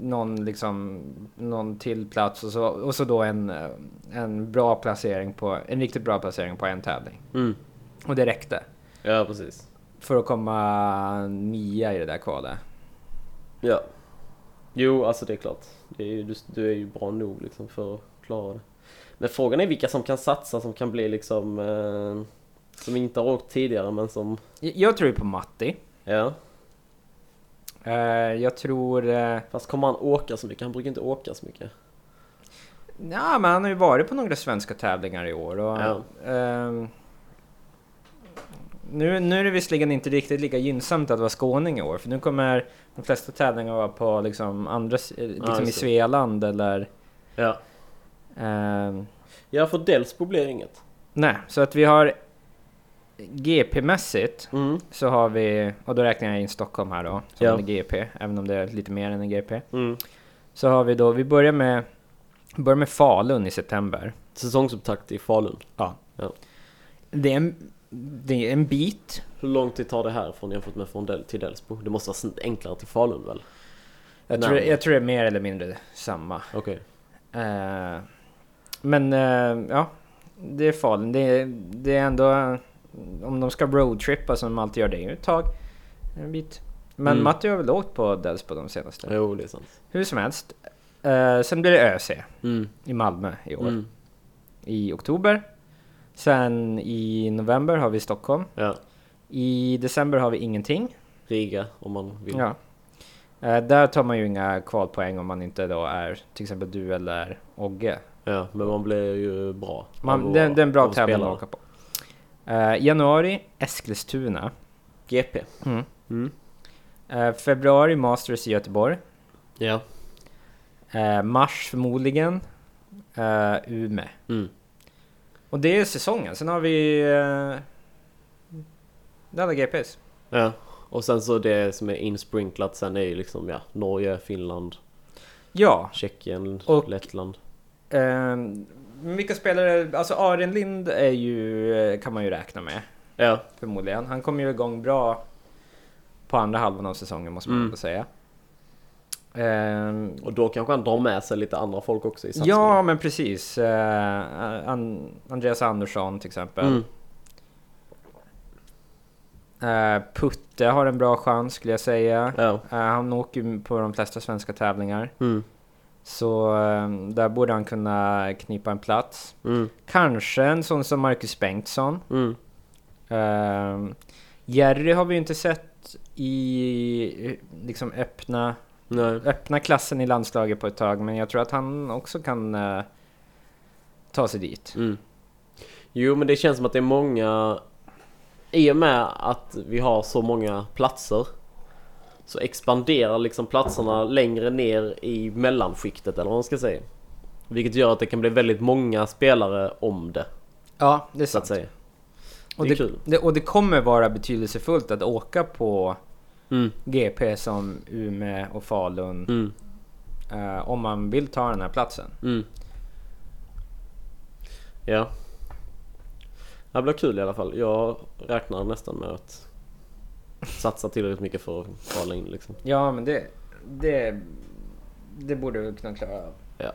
Speaker 2: någon, liksom, någon till plats och så, och så då en, eh, en, bra placering på, en riktigt bra placering på en tävling.
Speaker 1: Mm.
Speaker 2: Och det räckte
Speaker 1: Ja, precis.
Speaker 2: för att komma nia i det där kvalet.
Speaker 1: Ja. Jo, alltså det är klart. Det är ju, du, du är ju bra nog liksom för att klara det. Men frågan är vilka som kan satsa, som kan bli liksom... Eh, som inte har åkt tidigare men som...
Speaker 2: Jag- Jag tror ju på Matti.
Speaker 1: Ja.
Speaker 2: Eh, jag tror... Eh,
Speaker 1: Fast kommer han åka så mycket? Han brukar inte åka så mycket.
Speaker 2: Ja, men han har ju varit på några svenska tävlingar i år. Och,
Speaker 1: Ja.
Speaker 2: ehm, nu, nu är det visserligen inte riktigt lika gynnsamt att vara skåning i år, för nu kommer de flesta tävlingar vara på liksom andra, s- eh, liksom
Speaker 1: just
Speaker 2: i
Speaker 1: det.
Speaker 2: Svealand eller...
Speaker 1: Ja.
Speaker 2: ehm,
Speaker 1: Ja, för Delsbo blir inget.
Speaker 2: nej, så att vi har GP-mässigt
Speaker 1: Mm.
Speaker 2: så har vi, och då räknar jag in Stockholm här då, som
Speaker 1: Ja.
Speaker 2: en GP, även om det är lite mer än en GP.
Speaker 1: Mm.
Speaker 2: Så har vi då, vi börjar med, börjar med Falun i september.
Speaker 1: Säsongsupptakt i Falun.
Speaker 2: Det är en, det är en bit
Speaker 1: Hur lång tid tar det härifrån jämfört med från Del till Delsbo? Det måste vara sn- enklare till Falun väl?
Speaker 2: Jag
Speaker 1: Nej.
Speaker 2: tror, jag tror det är mer eller mindre samma.
Speaker 1: Okej.
Speaker 2: Eh, men eh, ja, det är Falun. Det, är- det är ändå, eh, om de ska roadtrippa som de alltid gör, det är ju ett tag. En bit. Men
Speaker 1: Mm.
Speaker 2: Matti har väl åkt på Delsbo de senaste.
Speaker 1: Jo, det är sant.
Speaker 2: Hur som helst. Eh, sen blir det ÖC
Speaker 1: Mm.
Speaker 2: i Malmö i år.
Speaker 1: Mm.
Speaker 2: I oktober. Sen i november har vi Stockholm.
Speaker 1: Ja.
Speaker 2: I december har vi ingenting.
Speaker 1: Riga om man vill.
Speaker 2: Ja. Eh, där tar man ju inga kvalpoäng om man inte då är till exempel du eller Ogge.
Speaker 1: Ja, men man blir ju bra. av
Speaker 2: Man,
Speaker 1: att
Speaker 2: det,
Speaker 1: vara-
Speaker 2: det är en
Speaker 1: av
Speaker 2: bra
Speaker 1: att
Speaker 2: tävling
Speaker 1: spela.
Speaker 2: att åka på. Eh, januari, Eskilstuna.
Speaker 1: GP.
Speaker 2: Mm.
Speaker 1: Mm.
Speaker 2: Eh, februari, Masters i Göteborg.
Speaker 1: Ja.
Speaker 2: Eh, mars förmodligen, uh, Umeå.
Speaker 1: Mm.
Speaker 2: Och det är säsongen. Sen har vi... Uh, det är alla GPs.
Speaker 1: ja. Och sen så det som är insprinklat sen är ju liksom ja, Norge, Finland,
Speaker 2: Ja,
Speaker 1: Tjeckien,
Speaker 2: Och-
Speaker 1: Lettland.
Speaker 2: ehm, vilka spelare... Alltså Arin Lind är ju, eh, kan man ju räkna med.
Speaker 1: Ja.
Speaker 2: förmodligen. Han kom ju igång bra på andra halvan av säsongen måste man
Speaker 1: Mm.
Speaker 2: ändå säga. Ehm,
Speaker 1: Och då kanske han drar med sig lite andra folk också i satsningen.
Speaker 2: ja, men precis. Eh, An- Andreas Andersson till exempel.
Speaker 1: Mm.
Speaker 2: Eh, Putte har en bra chans skulle jag säga.
Speaker 1: Ja.
Speaker 2: Eh, han åker ju på de flesta svenska tävlingar.
Speaker 1: Mm.
Speaker 2: Så eh, där borde han kunna knipa en plats.
Speaker 1: Mm.
Speaker 2: Kanske en sån som Marcus Bengtsson.
Speaker 1: Mm.
Speaker 2: Ehm, Jerry har vi ju inte sett i eh, liksom öppna
Speaker 1: Nej.
Speaker 2: öppna klassen i landslaget på ett tag, men jag tror att han också kan eh, ta sig dit.
Speaker 1: Mm. Jo, men det känns som att det är många... I och med att vi har så många platser så expanderar liksom platserna längre ner i mellanskiktet eller vad man ska säga. Vilket gör att det kan bli väldigt många spelare om det,
Speaker 2: Ja, det är
Speaker 1: så att
Speaker 2: sant.
Speaker 1: säga.
Speaker 2: Och
Speaker 1: Det är
Speaker 2: det,
Speaker 1: kul.
Speaker 2: det, och det kommer vara betydelsefullt att åka på
Speaker 1: Mm.
Speaker 2: GP som Umeå och Falun
Speaker 1: Mm.
Speaker 2: eh, om man vill ta den här platsen.
Speaker 1: Mm. Ja. Det blir kul i alla fall. Jag räknar nästan med att satsa tillräckligt mycket för att kvala in liksom.
Speaker 2: Ja, men det, det, det borde vi kunna klara av.
Speaker 1: Ja.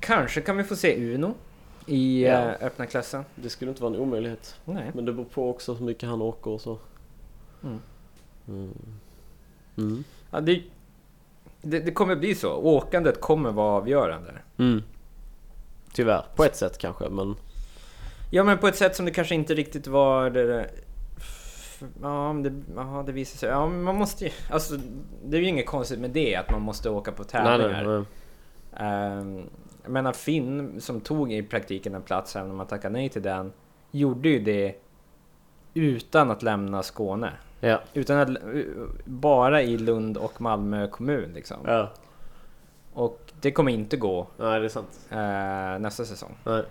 Speaker 2: Kanske kan vi få se Uno i
Speaker 1: Ja.
Speaker 2: eh, öppna klassen.
Speaker 1: Det skulle inte vara en omöjlighet.
Speaker 2: Nej.
Speaker 1: Men det beror på också hur mycket han åker och så.
Speaker 2: Mm.
Speaker 1: Mm. Mm.
Speaker 2: Ja, det, det, det kommer bli så. Åkandet kommer vara avgörande.
Speaker 1: Mm. Tyvärr, på ett sätt kanske men...
Speaker 2: Ja, men på ett sätt som det kanske inte riktigt var... Det, det- f- ja, men det, ja, det visar sig. Ja, men man måste ju... Alltså, det är ju inget konstigt med det, att man måste åka på tävlingar.
Speaker 1: nej.
Speaker 2: Ehm, jag menar Finn som tog i praktiken en plats även om han tackade nej till den gjorde ju det utan att lämna Skåne.
Speaker 1: Ja.
Speaker 2: Utan att, bara i Lund och Malmö kommun liksom.
Speaker 1: ja.
Speaker 2: Och det kommer inte gå
Speaker 1: Nej, det är sant.
Speaker 2: eh, nästa säsong.
Speaker 1: Nej.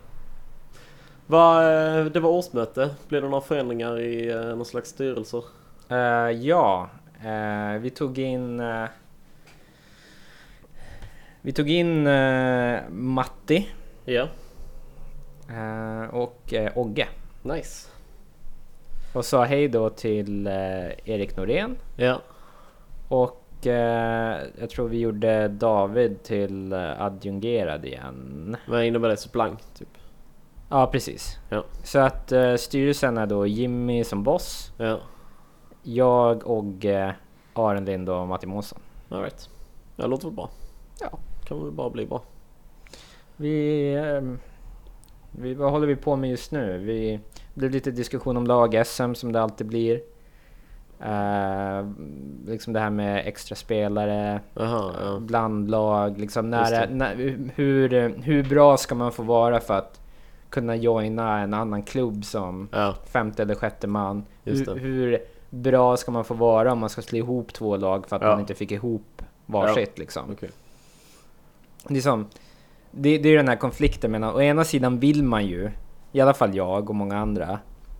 Speaker 1: Va, eh, det var årsmöte. Blev det några förändringar i eh, någon slags styrelser?
Speaker 2: Eh, ja, eh, vi tog in eh, Vi tog in eh, Matti
Speaker 1: Ja.
Speaker 2: eh, och eh, Ogge
Speaker 1: Nice.
Speaker 2: och sa hej då till eh, Erik Norén
Speaker 1: Ja.
Speaker 2: Och eh, jag tror vi gjorde David till eh, adjungerad igen.
Speaker 1: Vad innebär det? Supplank, typ?
Speaker 2: Ja, precis.
Speaker 1: Ja.
Speaker 2: Så att eh, styrelsen är då Jimmy som boss,
Speaker 1: Ja.
Speaker 2: jag och eh, Aron Lind och Matti Månsson.
Speaker 1: Alright. Ja, låter väl bra.
Speaker 2: Ja.
Speaker 1: Kan väl bara bli bra.
Speaker 2: Vi, ehm, vi... Vad håller vi på med just nu? Vi, det blev lite diskussion om lag-SM som det alltid blir. Eh, liksom det här med extra spelare,
Speaker 1: Jaha, ja.
Speaker 2: blandlag, liksom
Speaker 1: Just
Speaker 2: när,
Speaker 1: det.
Speaker 2: när, hur, hur bra ska man få vara för att kunna joina en annan klubb som
Speaker 1: Ja,
Speaker 2: femte eller sjätte man?
Speaker 1: Just
Speaker 2: Hur,
Speaker 1: det.
Speaker 2: hur bra ska man få vara om man ska slå ihop två lag för att
Speaker 1: Ja.
Speaker 2: man inte fick ihop varsitt liksom?
Speaker 1: okej.
Speaker 2: Det är, som, det, det är den här konflikten mellan, å ena sidan vill man ju, i alla fall jag och många andra,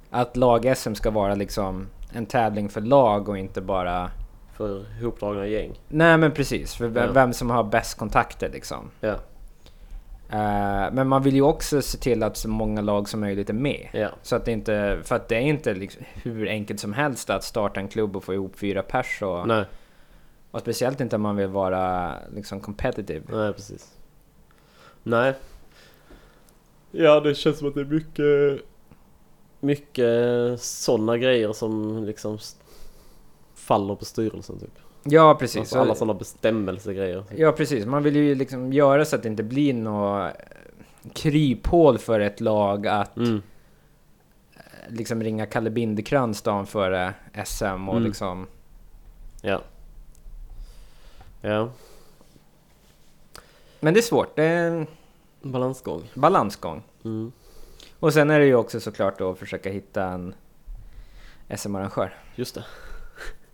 Speaker 2: att lag-SM ska vara liksom en tävling för lag och inte bara
Speaker 1: För ihopdragna gäng.
Speaker 2: Nej men precis, för v-
Speaker 1: Ja.
Speaker 2: vem som har bäst kontakter liksom.
Speaker 1: Ja.
Speaker 2: Eh, men man vill ju också se till att så många lag som möjligt är med.
Speaker 1: Ja.
Speaker 2: Så att det inte, för att det är inte liksom hur enkelt som helst att starta en klubb och få ihop fyra pers. Och,
Speaker 1: Nej.
Speaker 2: och speciellt inte om man vill vara liksom competitive.
Speaker 1: Nej, precis. Nej. Ja, det känns som att det är mycket... Mycket sådana grejer som liksom s- faller på styrelsen typ.
Speaker 2: Ja precis.
Speaker 1: alltså, alla sådana bestämmelsegrejer.
Speaker 2: Ja precis, man vill ju liksom göra så att det inte blir något eh, kryphål för ett lag att
Speaker 1: Mm.
Speaker 2: eh, liksom ringa Kalle Bindekrans dagen före SM och
Speaker 1: Mm.
Speaker 2: liksom...
Speaker 1: Ja. Ja,
Speaker 2: Men det är svårt, det är en
Speaker 1: balansgång.
Speaker 2: balansgång.
Speaker 1: Mm.
Speaker 2: Och sen är det ju också såklart då att försöka hitta en SM-arrangör.
Speaker 1: Just det.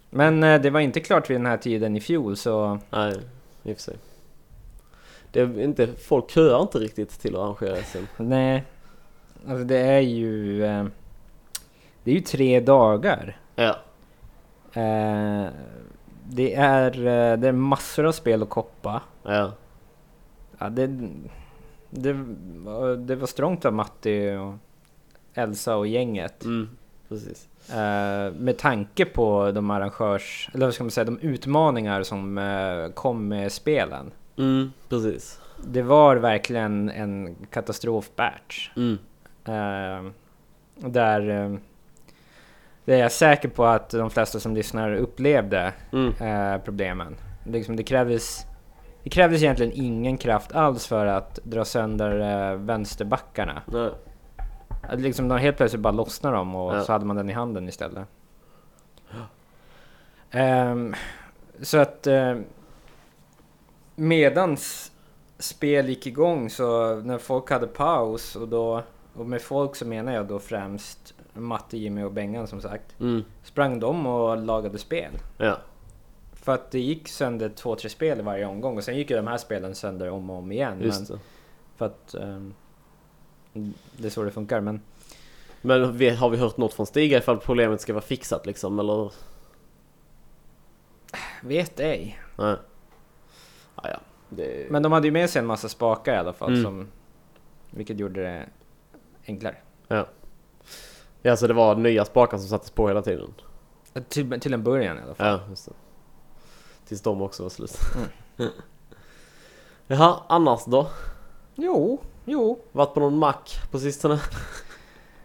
Speaker 2: Men eh, det var inte klart vid den här tiden i fjol så...
Speaker 1: Nej, i och för sig. Det är inte, folk köar inte riktigt till att arrangera SM.
Speaker 2: Nej. Alltså det är ju... eh, Det är ju tre dagar.
Speaker 1: Ja.
Speaker 2: Eh, Det är, eh, det är massor av spel att koppa.
Speaker 1: Ja.
Speaker 2: Ja, det, det, var- det var strångt av Matti och Elsa och gänget.
Speaker 1: Mm. Precis.
Speaker 2: Eh, med tanke på de arrangörs... Eller vad ska man säga? De utmaningar som eh, kom med spelen.
Speaker 1: Mm, precis.
Speaker 2: Det var verkligen en katastrofbatch.
Speaker 1: Mm.
Speaker 2: Eh, där... eh, det är jag säker på att de flesta som lyssnar upplevde
Speaker 1: Mm.
Speaker 2: eh, problemen. Liksom det krävdes... Det krävdes egentligen ingen kraft alls för att dra sönder eh, vänsterbackarna.
Speaker 1: Nej.
Speaker 2: Att Liksom de helt plötsligt bara lossnade dem och
Speaker 1: Ja.
Speaker 2: så hade man den i handen istället. Ehm, så att eh, medans spel gick igång så när folk hade paus och då och med folk så menar jag då främst Matte, Jimmy och Bengan som sagt.
Speaker 1: Mm.
Speaker 2: Sprang de och lagade spel.
Speaker 1: Ja.
Speaker 2: För att det gick sönder två, tre spel i varje omgång och sen gick ju de här spelen sönder om och om igen.
Speaker 1: Just
Speaker 2: men
Speaker 1: det.
Speaker 2: för att ehm, det är så det funkar. Men
Speaker 1: Men vi, har vi hört något från Stiga ifall problemet ska vara fixat liksom eller?
Speaker 2: vet ej.
Speaker 1: Nej. Ah, ja. Det...
Speaker 2: Men de hade ju med sig en massa spakar i alla fall,
Speaker 1: Mm.
Speaker 2: som, vilket gjorde det enklare.
Speaker 1: Ja, så det var nya spakar som sattes på hela tiden?
Speaker 2: Till, till en början i alla fall.
Speaker 1: Ja, just det. Tills de också var slut.
Speaker 2: Mm.
Speaker 1: Jaha, annars då?
Speaker 2: Jo, jo.
Speaker 1: Varit på någon mack på sistone?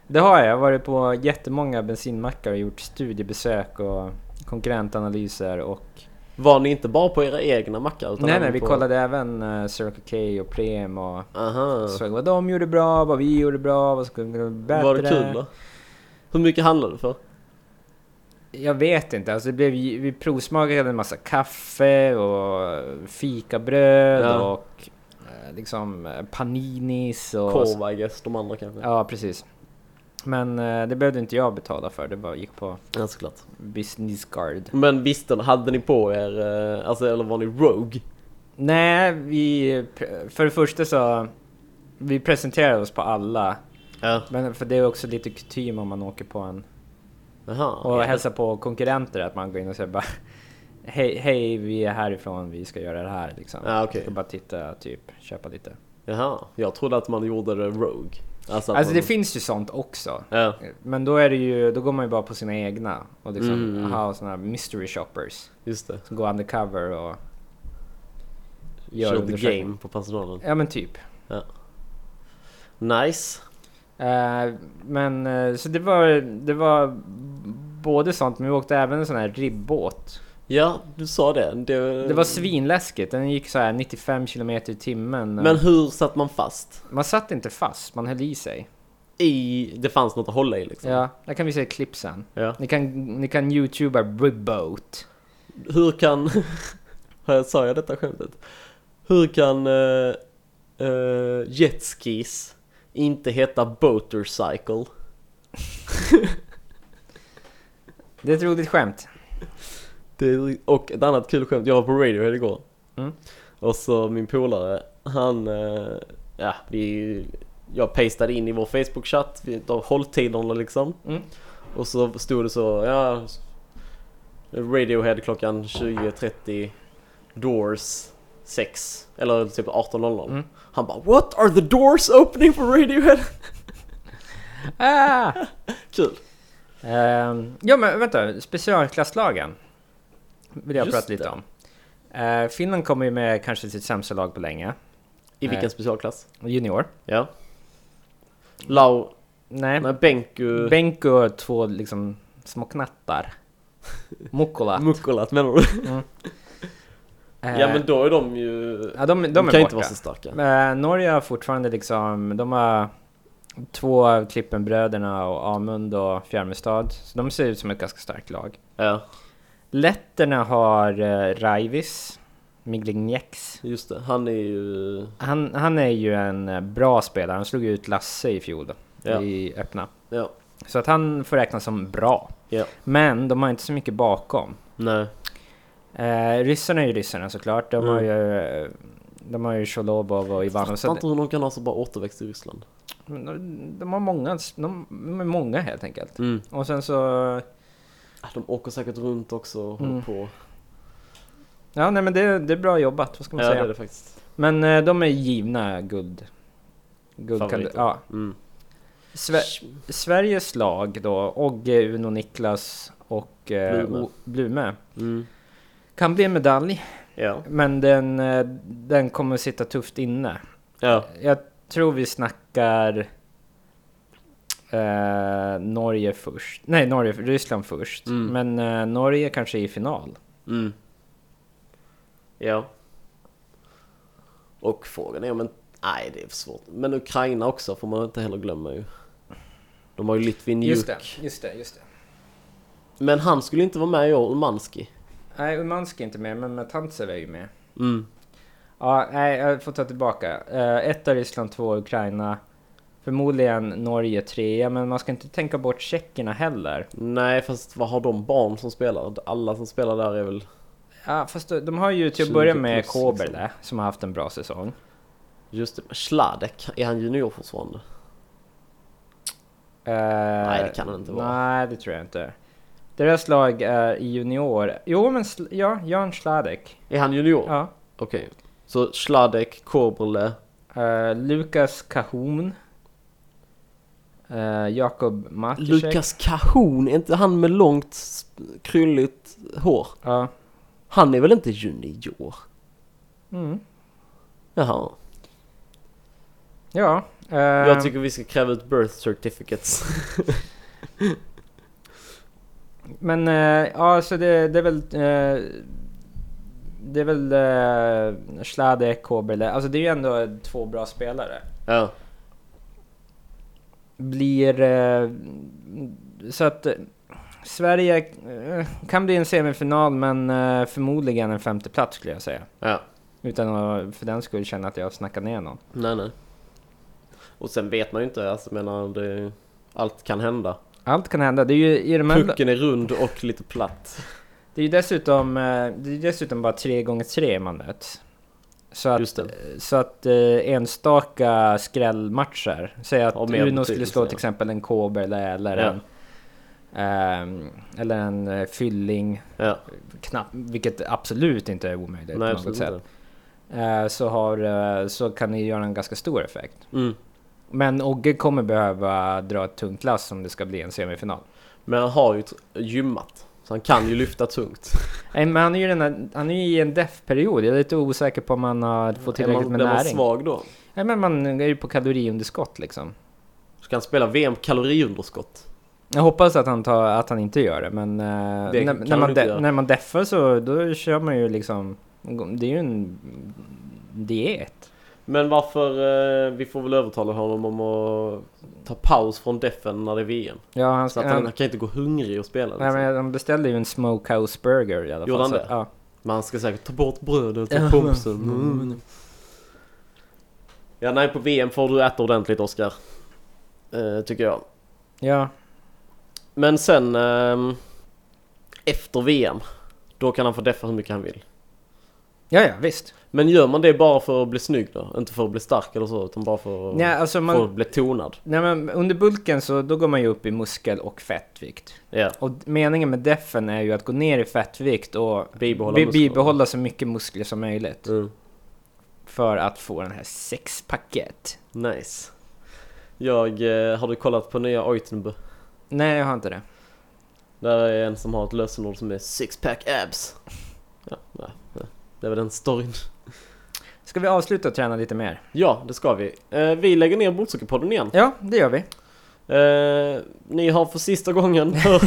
Speaker 2: Det har jag. Jag har varit på jättemånga bensinmackar och gjort studiebesök och konkurrentanalyser och
Speaker 1: Var ni inte bara på era egna mackar? Utan
Speaker 2: Nej,
Speaker 1: även
Speaker 2: nej, vi
Speaker 1: på...
Speaker 2: kollade även eh, Circle K och Prem och
Speaker 1: Aha.
Speaker 2: såg vad de gjorde bra, vad vi gjorde bra, vad som kunde bli bättre.
Speaker 1: Var det kul då? Hur mycket handlade det för?
Speaker 2: Jag vet inte, alltså det blev, ju- vi provsmakade en massa kaffe och fikabröd
Speaker 1: Ja.
Speaker 2: och eh, liksom eh, paninis och...
Speaker 1: Korv, I guess, de andra kanske? Ja,
Speaker 2: Ja, precis. Men eh, det behövde inte jag betala för, det bara gick på
Speaker 1: såklart.
Speaker 2: business card.
Speaker 1: Men visste ni, hade ni på er, eh, alltså eller var ni rogue?
Speaker 2: Nej, vi... pr- För det första så... Vi presenterade oss på alla,
Speaker 1: Ja.
Speaker 2: men för det är också lite kutym om man åker på en
Speaker 1: Jaha.
Speaker 2: Och
Speaker 1: ja.
Speaker 2: hälsa på konkurrenter, att man går in och säger bara Hej, hej vi är härifrån, vi ska göra det här liksom.
Speaker 1: Ja, okej.
Speaker 2: Ska bara titta, typ, köpa lite.
Speaker 1: Jaha. Jag trodde att man gjorde det rogue. Alltså, att
Speaker 2: Alltså det
Speaker 1: man...
Speaker 2: finns ju sånt också.
Speaker 1: Ja.
Speaker 2: Men då är det ju, då går man ju bara på sina egna och liksom
Speaker 1: Mm, mm.
Speaker 2: har såna här mystery shoppers.
Speaker 1: Just det.
Speaker 2: Som går undercover och... Gör
Speaker 1: Kör the
Speaker 2: undersökning.
Speaker 1: game på personalen.
Speaker 2: Ja men typ.
Speaker 1: Nice.
Speaker 2: Eh, men eh, så det var, det var både sånt, men vi åkte även en sån här ribbåt.
Speaker 1: Ja, du sa det. Det,
Speaker 2: Det var svinläskigt, den gick så här 95 km i timmen.
Speaker 1: Men hur satt man fast?
Speaker 2: Man satt inte fast, man höll i sig.
Speaker 1: I... Det fanns något att hålla i liksom.
Speaker 2: Ja, där kan vi se klipp sen.
Speaker 1: Ja.
Speaker 2: Ni kan, ni kan youtuba Reboat.
Speaker 1: Hur kan... Har jag- Sa jag detta skämtet? Hur kan eh, eh, jetskis inte heta Boatercycle?
Speaker 2: Det är ett roligt skämt.
Speaker 1: Det, och ett annat kul skämt, jag var på Radiohead igår.
Speaker 2: Mm.
Speaker 1: Och så min polare, han... eh, Ja, vi... Jag pastade in i vår Facebook-chatt, vi- de hålltiderna liksom.
Speaker 2: Mm.
Speaker 1: Och så stod det så, ja... Radiohead klockan 20.30, Doors 6, eller typ 18.00.
Speaker 2: Mm.
Speaker 1: Han bara What are the doors opening for Radiohead?
Speaker 2: Ah!
Speaker 1: Kul!
Speaker 2: Ehm, ja men vänta, specialklasslagen. Vill jag
Speaker 1: Just
Speaker 2: prata lite
Speaker 1: det.
Speaker 2: om. Eh, Finland kommer ju med kanske sitt sämsta lag på länge.
Speaker 1: I vilken
Speaker 2: Nej.
Speaker 1: specialklass?
Speaker 2: Junior.
Speaker 1: Ja. Lau,
Speaker 2: Nej.
Speaker 1: nej Benku,
Speaker 2: Benko har två liksom små knattar. Mukkola.
Speaker 1: Mukkolat menar du?
Speaker 2: Eh,
Speaker 1: Ja men då är de ju...
Speaker 2: ja, de, de,
Speaker 1: De
Speaker 2: är
Speaker 1: kan ju
Speaker 2: borta.
Speaker 1: inte vara så starka.
Speaker 2: Eh, Norge har fortfarande liksom, de har två av Klippenbröderna och Amund och Fjärmestad. Så de ser ut som ett ganska starkt lag.
Speaker 1: Ja,
Speaker 2: Letterna har eh, Raivis, Miglinjeks.
Speaker 1: just det. Han är ju...
Speaker 2: Han, han är ju en eh, bra spelare, han slog ut Lasse i fjol
Speaker 1: Ja.
Speaker 2: i öppna.
Speaker 1: Ja.
Speaker 2: Så att han får räknas som bra.
Speaker 1: Ja.
Speaker 2: Men de har inte så mycket bakom.
Speaker 1: Nej.
Speaker 2: Eh, ryssarna är ju ryssarna såklart, de har
Speaker 1: Mm.
Speaker 2: ju... eh, De har ju Tjolobov och Ivanov.
Speaker 1: Fattar
Speaker 2: Så
Speaker 1: inte hur de kan ha så bra återväxt i Ryssland.
Speaker 2: de, de har många, de, de är många helt enkelt.
Speaker 1: Mm.
Speaker 2: Och sen så...
Speaker 1: Ah, De åker säkert runt också och håller
Speaker 2: Mm.
Speaker 1: på.
Speaker 2: Ja, nej men det, det är bra jobbat, vad ska man
Speaker 1: Ja, det
Speaker 2: säga?
Speaker 1: är det faktiskt.
Speaker 2: Men eh, de är givna guld... Guldkand-
Speaker 1: Favoriter.
Speaker 2: ja.
Speaker 1: Mm.
Speaker 2: Sve- Sveriges lag då, Ogge, Uno, Niklas och eh,
Speaker 1: Blume.
Speaker 2: O- Blume.
Speaker 1: Mm.
Speaker 2: Kan bli en medalj,
Speaker 1: Ja.
Speaker 2: men den, eh, den kommer sitta tufft inne.
Speaker 1: Ja.
Speaker 2: Jag tror vi snackar... Eh, Norge först. Nej, Norge, Ryssland först.
Speaker 1: Mm.
Speaker 2: Men eh, Norge kanske är i final.
Speaker 1: Mm. Ja. Och frågan är om en... Nej, det är för svårt. Men Ukraina också får man inte heller glömma ju. De har ju Litvin
Speaker 2: Just det,
Speaker 1: Juk.
Speaker 2: just det, just det.
Speaker 1: Men han skulle inte vara med i år, Ulmanski.
Speaker 2: Nej, Umansk är inte med, men Matantsev är ju med.
Speaker 1: Mm.
Speaker 2: Ja, nej, jag får ta tillbaka. Eh, ett är Ryssland, två är Ukraina. Förmodligen Norge trea, men man ska inte tänka bort tjeckerna heller.
Speaker 1: Nej, fast vad har de barn som spelar? Alla som spelar där är väl...
Speaker 2: Ja, fast de- de har ju till att
Speaker 1: 20
Speaker 2: börja med
Speaker 1: plus,
Speaker 2: Koberle,
Speaker 1: liksom.
Speaker 2: som har haft en bra säsong.
Speaker 1: Just det, Sladek, är han junior fortfarande?
Speaker 2: nej,
Speaker 1: det kan det inte vara.
Speaker 2: Eh, Nej, det tror jag inte. Deras lag är i junior. Jo, men sl- ja, Jan Sladek.
Speaker 1: Är han junior?
Speaker 2: Ja.
Speaker 1: Okej. Så Sladek, Kobrele,
Speaker 2: Eh, Lukas Kahun. Eh, Jakob Matisek.
Speaker 1: Lukas Kahun, är inte han med långt sp- krylligt hår?
Speaker 2: Ja.
Speaker 1: Han är väl inte junior?
Speaker 2: Mm.
Speaker 1: Jaha.
Speaker 2: Ja. eh,
Speaker 1: Jag tycker vi ska kräva ut birth certificates.
Speaker 2: Men eh, ja, så det, det är väl eh, det är väl eh, Schladek, Kobele, alltså det är ju ändå två bra spelare.
Speaker 1: Ja.
Speaker 2: Blir... Eh, så att eh, Sverige eh, kan bli en semifinal men eh, förmodligen en femteplats skulle jag säga.
Speaker 1: Ja.
Speaker 2: Utan att för den skulle känna att jag snackar ner någon.
Speaker 1: Nej, nej. Och sen vet man ju inte. Alltså, jag menar, det, allt kan hända.
Speaker 2: Allt kan hända. Det är ju i de här...
Speaker 1: Pucken är rund och lite platt.
Speaker 2: Det är ju dessutom, eh, det är ju dessutom bara tre gånger tre man möts. Så att,
Speaker 1: Just det.
Speaker 2: så att eh, enstaka skrällmatcher, säg att
Speaker 1: Har mer
Speaker 2: Uno skulle
Speaker 1: betydelse,
Speaker 2: slå
Speaker 1: ja.
Speaker 2: till exempel en Kåberle eller
Speaker 1: Ja.
Speaker 2: en... ehm, eller en eh, Fylling,
Speaker 1: Ja.
Speaker 2: knapp, vilket absolut inte är omöjligt
Speaker 1: Nej,
Speaker 2: på något
Speaker 1: absolut
Speaker 2: sätt.
Speaker 1: inte.
Speaker 2: Eh, så, har, eh, så kan det göra en ganska stor effekt.
Speaker 1: Mm.
Speaker 2: Men Ogge kommer behöva dra ett tungt lass om det ska bli en semifinal.
Speaker 1: Men han har ju t- gymmat. Så han kan ju lyfta tungt.
Speaker 2: Nej, Eh, men han är ju, den här, han är ju i en deff-period. Jag är lite osäker på om han har fått
Speaker 1: Är
Speaker 2: tillräckligt
Speaker 1: man,
Speaker 2: med
Speaker 1: blir man
Speaker 2: näring.
Speaker 1: svag då?
Speaker 2: Nej, men man är ju på kaloriunderskott liksom.
Speaker 1: Så kan han spela VM kaloriunderskott.
Speaker 2: Jag hoppas att han, tar, att han inte gör det, men eh,
Speaker 1: Det
Speaker 2: när,
Speaker 1: kan
Speaker 2: när,
Speaker 1: han
Speaker 2: man
Speaker 1: inte
Speaker 2: de,
Speaker 1: göra.
Speaker 2: när man deffar så då kör man ju liksom... Det är ju en diet.
Speaker 1: Men varför... Eh, vi får väl övertala honom om att ta paus från defen när det är VM.
Speaker 2: Ja, han,
Speaker 1: Så
Speaker 2: ska,
Speaker 1: att
Speaker 2: han,
Speaker 1: han, han kan inte gå hungrig och spela. Liksom.
Speaker 2: nej, men han beställde ju en smokehouse burger i alla
Speaker 1: Gjorde
Speaker 2: fall.
Speaker 1: han
Speaker 2: så-
Speaker 1: det?
Speaker 2: Ja.
Speaker 1: Men han ska säkert ta bort brödet och pompsen. Mm. Ja, nej på VM får du äta ordentligt Oskar. Eh, tycker jag.
Speaker 2: ja.
Speaker 1: Men sen ehm, efter VM, då kan han få deffa hur mycket han vill.
Speaker 2: Ja, ja, visst.
Speaker 1: Men gör man det bara för att bli snygg då? Inte för att bli stark eller så, utan bara för att,
Speaker 2: Nej, alltså
Speaker 1: för
Speaker 2: man,
Speaker 1: att bli tonad?
Speaker 2: nej, men under bulken så då går man ju upp i muskel och fettvikt.
Speaker 1: Ja,
Speaker 2: Och meningen med defen är ju att gå ner i fettvikt och
Speaker 1: bibehålla
Speaker 2: bi-
Speaker 1: muskler.
Speaker 2: bibehålla så mycket muskler som möjligt.
Speaker 1: Mm.
Speaker 2: För att få den här sexpacket.
Speaker 1: Nice. Jag, eh, har du kollat på nya Oitenbö?
Speaker 2: Nej, jag har inte det.
Speaker 1: Där är en som har ett lösenord som är sixpack abs. Ja, nej, nej. Det är väl den storyn.
Speaker 2: Ska vi avsluta och träna lite mer?
Speaker 1: Ja, det ska vi. Eh, vi lägger ner Blodsockerpodden igen.
Speaker 2: Ja, det gör vi.
Speaker 1: Eh, ni har för sista gången hört,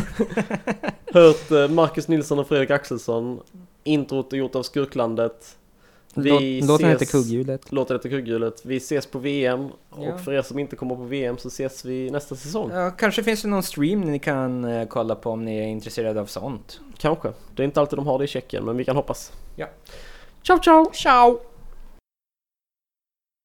Speaker 1: hört eh, Marcus Nilsson och Fredrik Axelsson. Introt är gjort av Skurklandet. Vi
Speaker 2: Låt, låten
Speaker 1: ses-
Speaker 2: heter Kugghjulet.
Speaker 1: Låten heter Kugghjulet. Vi ses på VM.
Speaker 2: Ja.
Speaker 1: Och för er som inte kommer på VM så ses vi nästa säsong.
Speaker 2: Ja, kanske finns det någon stream ni kan eh, kolla på om ni är intresserade av sånt.
Speaker 1: Kanske. Det är inte alltid de har det i Tjeckien, men vi kan hoppas.
Speaker 2: Ja.
Speaker 1: Ciao, ciao! Ciao!